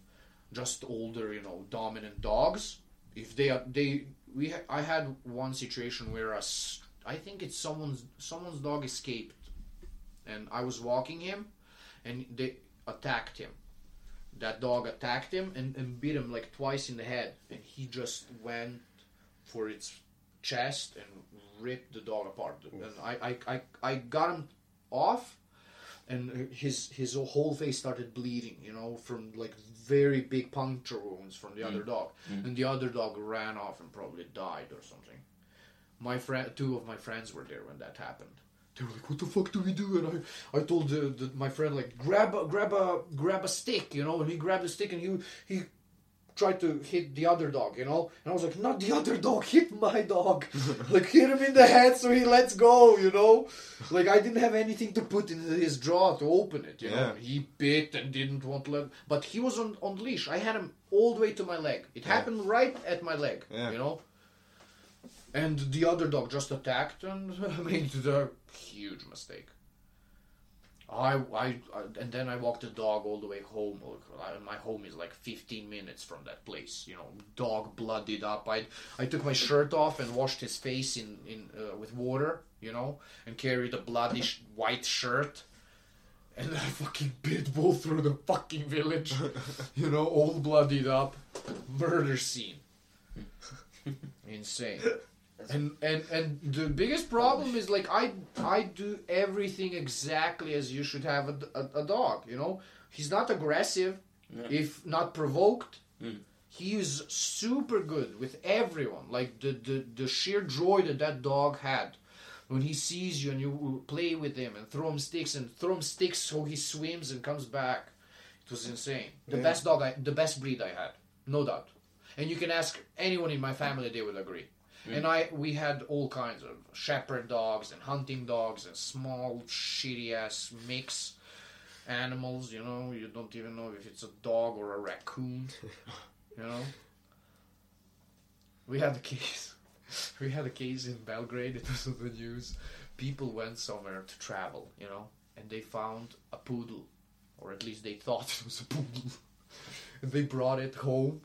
Speaker 5: Just older, you know, dominant dogs. If they are they, we ha- I had one situation where a s- I think it's someone's someone's dog escaped, and I was walking him, and they attacked him that dog attacked him and, and beat him like twice in the head and he just went for its chest and ripped the dog apart and I, I, I, I got him off and his his whole face started bleeding you know from like very big puncture wounds from the other dog and the other dog ran off and probably died or something my friend two of my friends were there when that happened they were like what the fuck do we do and i i told the, the, my friend like grab a grab a grab a stick you know and he grabbed a stick and he he tried to hit the other dog, you know? And I was like, not the other dog, hit my
Speaker 2: [LAUGHS]
Speaker 5: dog. like, hit him in the head so he lets go, you know? Like, I didn't have anything to put in his jaw to open it, you know?
Speaker 2: Yeah.
Speaker 5: He bit and didn't want to let. But he was on, on leash. I had him all the way to my leg. It happened right at my leg,
Speaker 2: Yeah.
Speaker 5: you know? And the other dog just attacked and [LAUGHS] made the huge mistake. I, I, I- and then I walked the dog all the way home. Like, I- My home is like 15 minutes from that place. You know, dog blooded up. I, I took my shirt off and washed his face in, in uh, with water. You know, and carried a bloody sh- white shirt. And I fucking pit bull through the fucking village. You know, all bloodied up, murder scene. Insane. And, and and the biggest problem is like I I do everything exactly as you should have a, a, a dog. You know, he's not aggressive
Speaker 1: Yeah.
Speaker 5: if not provoked.
Speaker 1: Mm.
Speaker 5: He is super good with everyone. Like the, the the sheer joy that that dog had when he sees you and you play with him and throw him sticks and throw him sticks so he swims and comes back. It was insane. The
Speaker 2: Yeah.
Speaker 5: best dog, I, the best breed I had, no doubt. And you can ask anyone in my family; they will agree. And I, we had all kinds of shepherd dogs and hunting dogs and small shitty ass mix animals. You know, you don't even know if it's a dog or a raccoon. You know, we had a case. [LAUGHS] We had a case in Belgrade. It was on the news. People went somewhere to travel. You know, and they found a poodle, or at least they thought [LAUGHS] it was a poodle. and they brought it home,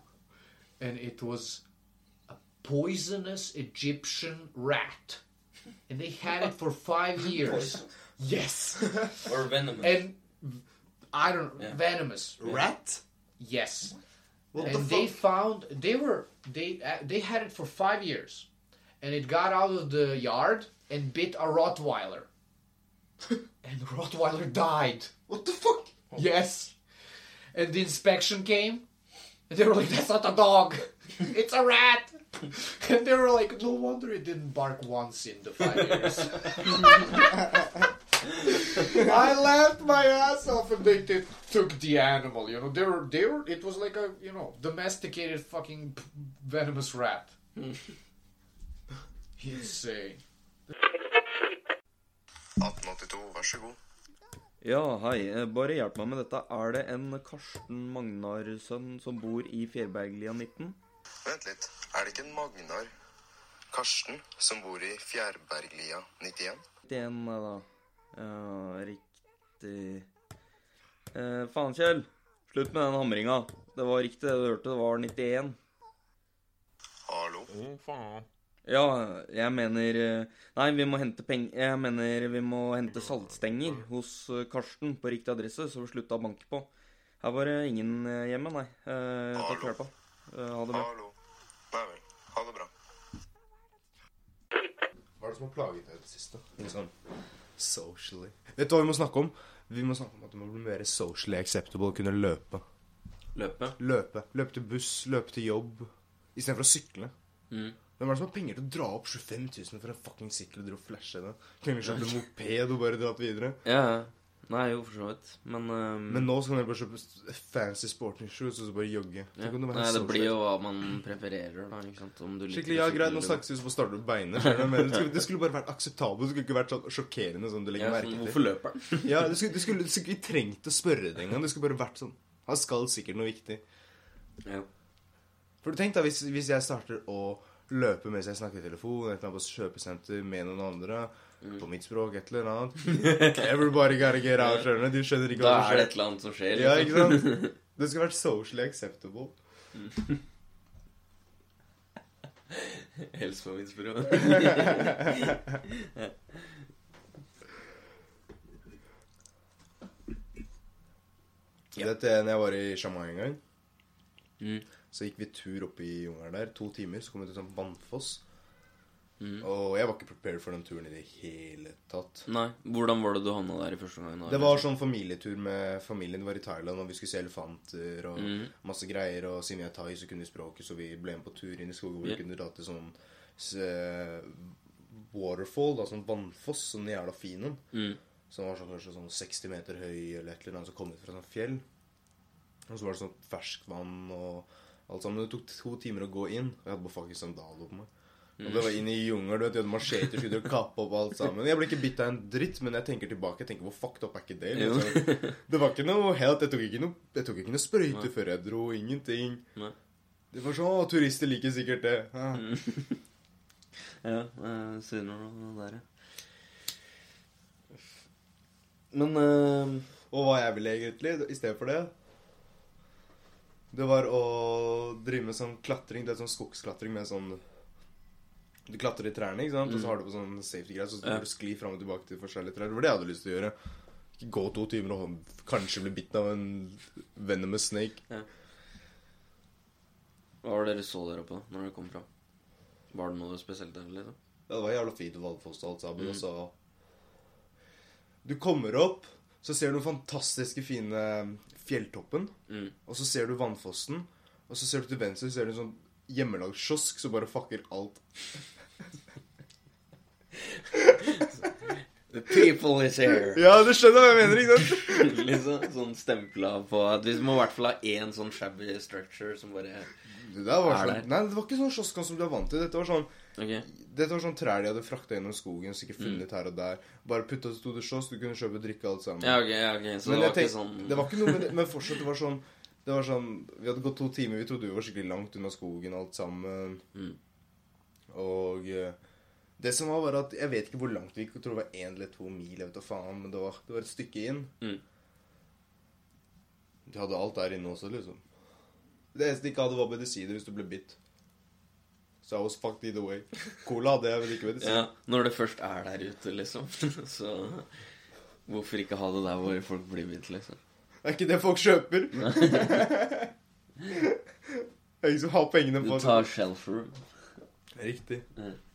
Speaker 5: and it was poisonous Egyptian rat. And they had it for
Speaker 2: [LAUGHS]
Speaker 5: five years. yes.
Speaker 1: Or venomous.
Speaker 5: And I don't
Speaker 1: Yeah.
Speaker 5: venomous.
Speaker 2: Rat?
Speaker 5: Yes.
Speaker 2: What
Speaker 5: and
Speaker 2: the
Speaker 5: they
Speaker 2: fuck?
Speaker 5: found they were they uh, they had it for five years, and it got out of the yard and bit a
Speaker 2: [LAUGHS]
Speaker 5: Rottweiler, and the Rottweiler died.
Speaker 2: What the fuck?
Speaker 5: Yes. And the inspection came, and they were like, "That's not a dog, it's a rat." And they were like, "No wonder it didn't bark once in the five years." I laughed my ass off, and they, they took the animal. You know, they were they were. It was like a you know domesticated fucking p- venomous rat. Insane.
Speaker 7: Ja, hei. Eh, Bare hjelp meg med dette. Er det en Karsten Magnar-sønn som bor i Fjærberglia 19?
Speaker 8: Vent litt, er det ikke en Magnar Karsten som bor i Fjærberglia 91?
Speaker 7: Ikke en, nei da. Ja, riktig eh, Faen, Kjell. Slutt med den hamringa. Det var riktig det du hørte. Det var 91.
Speaker 8: Hallo?
Speaker 7: Ja, jeg mener eh, Nei, vi må hente peng... Jeg mener vi må hente saltstenger hos eh, Karsten på riktig adresse, så vi slutta å banke på. Her var det ingen eh, hjemme, nei. Eh, takk for hjelpa. Eh, ha det bra.
Speaker 8: Hallo? Nei vel, ha det bra.
Speaker 2: Hva er det som har plaget deg i det siste?
Speaker 1: Liksom.
Speaker 2: Socially. Vet du hva vi må snakke om? Vi må snakke om at det må bli mer socially acceptable å kunne løpe.
Speaker 1: Løpe.
Speaker 2: Løpe. Løpe til buss, løpe til jobb. Istedenfor å sykle.
Speaker 1: Mm.
Speaker 2: Hvem er det som har penger til å dra opp 25 000 for en fucking sykkel og dro og flashe det? Kunne vi kjøpt en moped og bare dratt videre?
Speaker 1: Ja, ja. Nei, jo, for så vidt. Men, ehm,
Speaker 2: Men nå så kan dere bare kjøpe s- fancy sporting shoes og så bare jogge.
Speaker 1: ja.
Speaker 2: Tenk om
Speaker 1: Nei, det
Speaker 2: socially-
Speaker 1: blir jo sånn hva man prefererer, da. ikke sant? Om du liker
Speaker 2: sånn Skikkelig, ja,
Speaker 1: å sykle
Speaker 2: greit, nå
Speaker 1: eller-
Speaker 2: snakkes vi, så får starte med beinet. skjønner du hva jeg mener? Det skulle, det skulle bare vært akseptabelt. Det skulle ikke vært sånn sjokkerende sånn du legger
Speaker 1: ja,
Speaker 2: merke
Speaker 1: sånn,
Speaker 2: til.
Speaker 1: Hvorfor løper
Speaker 2: [LAUGHS]
Speaker 1: han?
Speaker 2: Ja, du skulle, du skulle, du skulle ikke trengt å spørre det engang. Det skulle bare vært sånn. Han skal sikkert noe viktig.
Speaker 1: Ja.
Speaker 2: For du tenk da, hvis, hvis jeg starter å løpe mens jeg snakker i telefon, et eller annet på kjøpesenter med noen andre,
Speaker 1: Mm.
Speaker 2: på mitt språk, et eller annet [LAUGHS] Everybody gotta get out, skjønner du? De skjønner ikke
Speaker 1: Da
Speaker 2: hva
Speaker 1: er det et
Speaker 2: som skjer.
Speaker 1: eller annet som skjer.
Speaker 2: Ja,
Speaker 1: liksom.
Speaker 2: ikke sant? Det skulle vært socially acceptable.
Speaker 1: [LAUGHS] Hils på mitt
Speaker 2: [LAUGHS]
Speaker 1: språk.
Speaker 2: Dette er når jeg var i Shamai en gang.
Speaker 1: Mm.
Speaker 2: Så gikk vi tur opp i jungelen der. To timer, så kom vi til en sånn vannfoss.
Speaker 1: Mm.
Speaker 2: Og jeg var ikke prepared for den turen i det hele tatt.
Speaker 1: Nei. Hvordan var det du havna der i første gang?
Speaker 2: Det var sånn familietur med familien. Det var i Thailand, og vi skulle se elefanter og
Speaker 1: Mm.
Speaker 2: masse greier. Og siden vi er thai, så kunne vi språket, så vi ble med på tur inn i skogen hvor
Speaker 1: Ja.
Speaker 2: vi kunne dra til sånn s- eh, waterfall, da, sånn vannfoss, sånn jævla fin en.
Speaker 1: Mm.
Speaker 2: Som var sånn, kanskje sånn 60 meter høy eller et eller annet, som kom ut fra sånn fjell. Og så var det sånn ferskvann og Alt sammen. Det tok to timer å gå inn. og Jeg hadde bare fuckings sandaler på meg. Og det var inn i jungel, du vet, de hadde macheter, skulle de kappe opp alt sammen. Jeg ble ikke bitt av en dritt, men jeg tenker tilbake, jeg tenker, hvor fucked up er ikke det?
Speaker 1: Jo. [LAUGHS]
Speaker 2: Liksom. Det var ikke noe helt, jeg tok ikke noe, jeg tok ikke noe sprøyte
Speaker 1: Nei.
Speaker 2: før jeg dro, ingenting.
Speaker 1: Nei. Mm.
Speaker 2: Det var sånn, å, turister liker sikkert det. Ja.
Speaker 1: [LAUGHS] Ja, eh, sier noe om det der, ja. Men eh,
Speaker 2: Og hva jeg ville egentlig, i stedet for det Det var å drive med sånn klatring, det er sånn skogsklatring med sånn Du klatrer i trærne, ikke sant, og så har du på sånn safety-greier, så
Speaker 1: Mm. Ja.
Speaker 2: skal du skli fram og tilbake til forskjellige trær. Det var det jeg hadde lyst til å gjøre. Ikke gå to timer og hånd- kanskje bli bitt av en venomous snake.
Speaker 1: hva var det dere så dere på når dere kom fram? Var det noe spesielt der, liksom?
Speaker 2: Ja, det var jævla fint å valgfosse alt sammen, og så altså. Du kommer opp, så ser du den fantastiske fine fjelltoppen,
Speaker 1: Mm.
Speaker 2: og så ser du vannfossen, og så ser du til venstre, så ser du en sånn hjemmelagskiosk som bare fucker alt.
Speaker 1: The people is here! [LAUGHS]
Speaker 2: Ja, du skjønner hva jeg mener, ikke sant?
Speaker 1: liksom Sånn stempla på at Vi må i hvert fall ha én sånn shabby structure som bare
Speaker 2: Det der var
Speaker 1: Er
Speaker 2: sånn,
Speaker 1: det?
Speaker 2: nei, det var ikke sånn kiosk som du er vant til. Dette var sånn
Speaker 1: Ok.
Speaker 2: Dette var sånn trær de hadde frakta gjennom skogen,
Speaker 1: Mm.
Speaker 2: sikkert funnet her og der. Bare putta til store kiosk, du kunne kjøpe og drikke alt sammen.
Speaker 1: Ja, ok, ja, ok. Så det
Speaker 2: Men jeg
Speaker 1: var ikke
Speaker 2: tenk-
Speaker 1: sånn
Speaker 2: Det var ikke noe med det, men fortsatt, det var sånn Det var sånn Vi hadde gått to timer, vi trodde vi var skikkelig langt unna skogen alt sammen.
Speaker 1: Mm.
Speaker 2: Og eh, det som var, var at jeg vet ikke hvor langt vi gikk, jeg tror det var én eller to mil, jeg vet da faen, men det var, det var et stykke inn.
Speaker 1: Mm.
Speaker 2: De hadde alt der inne også, liksom. Det eneste de ikke hadde, var medisiner hvis du ble bitt. Så I was fucked either way. Cola hadde jeg, men ikke medisiner.
Speaker 1: Ja, Når det først er der ute, liksom, [LAUGHS] så Hvorfor ikke ha det der hvor folk blir bitt, liksom?
Speaker 2: Det er ikke det folk kjøper. [LAUGHS] det er ingen som har pengene
Speaker 1: Du
Speaker 2: på
Speaker 1: tar shelf room.
Speaker 2: Riktig.
Speaker 1: Mm.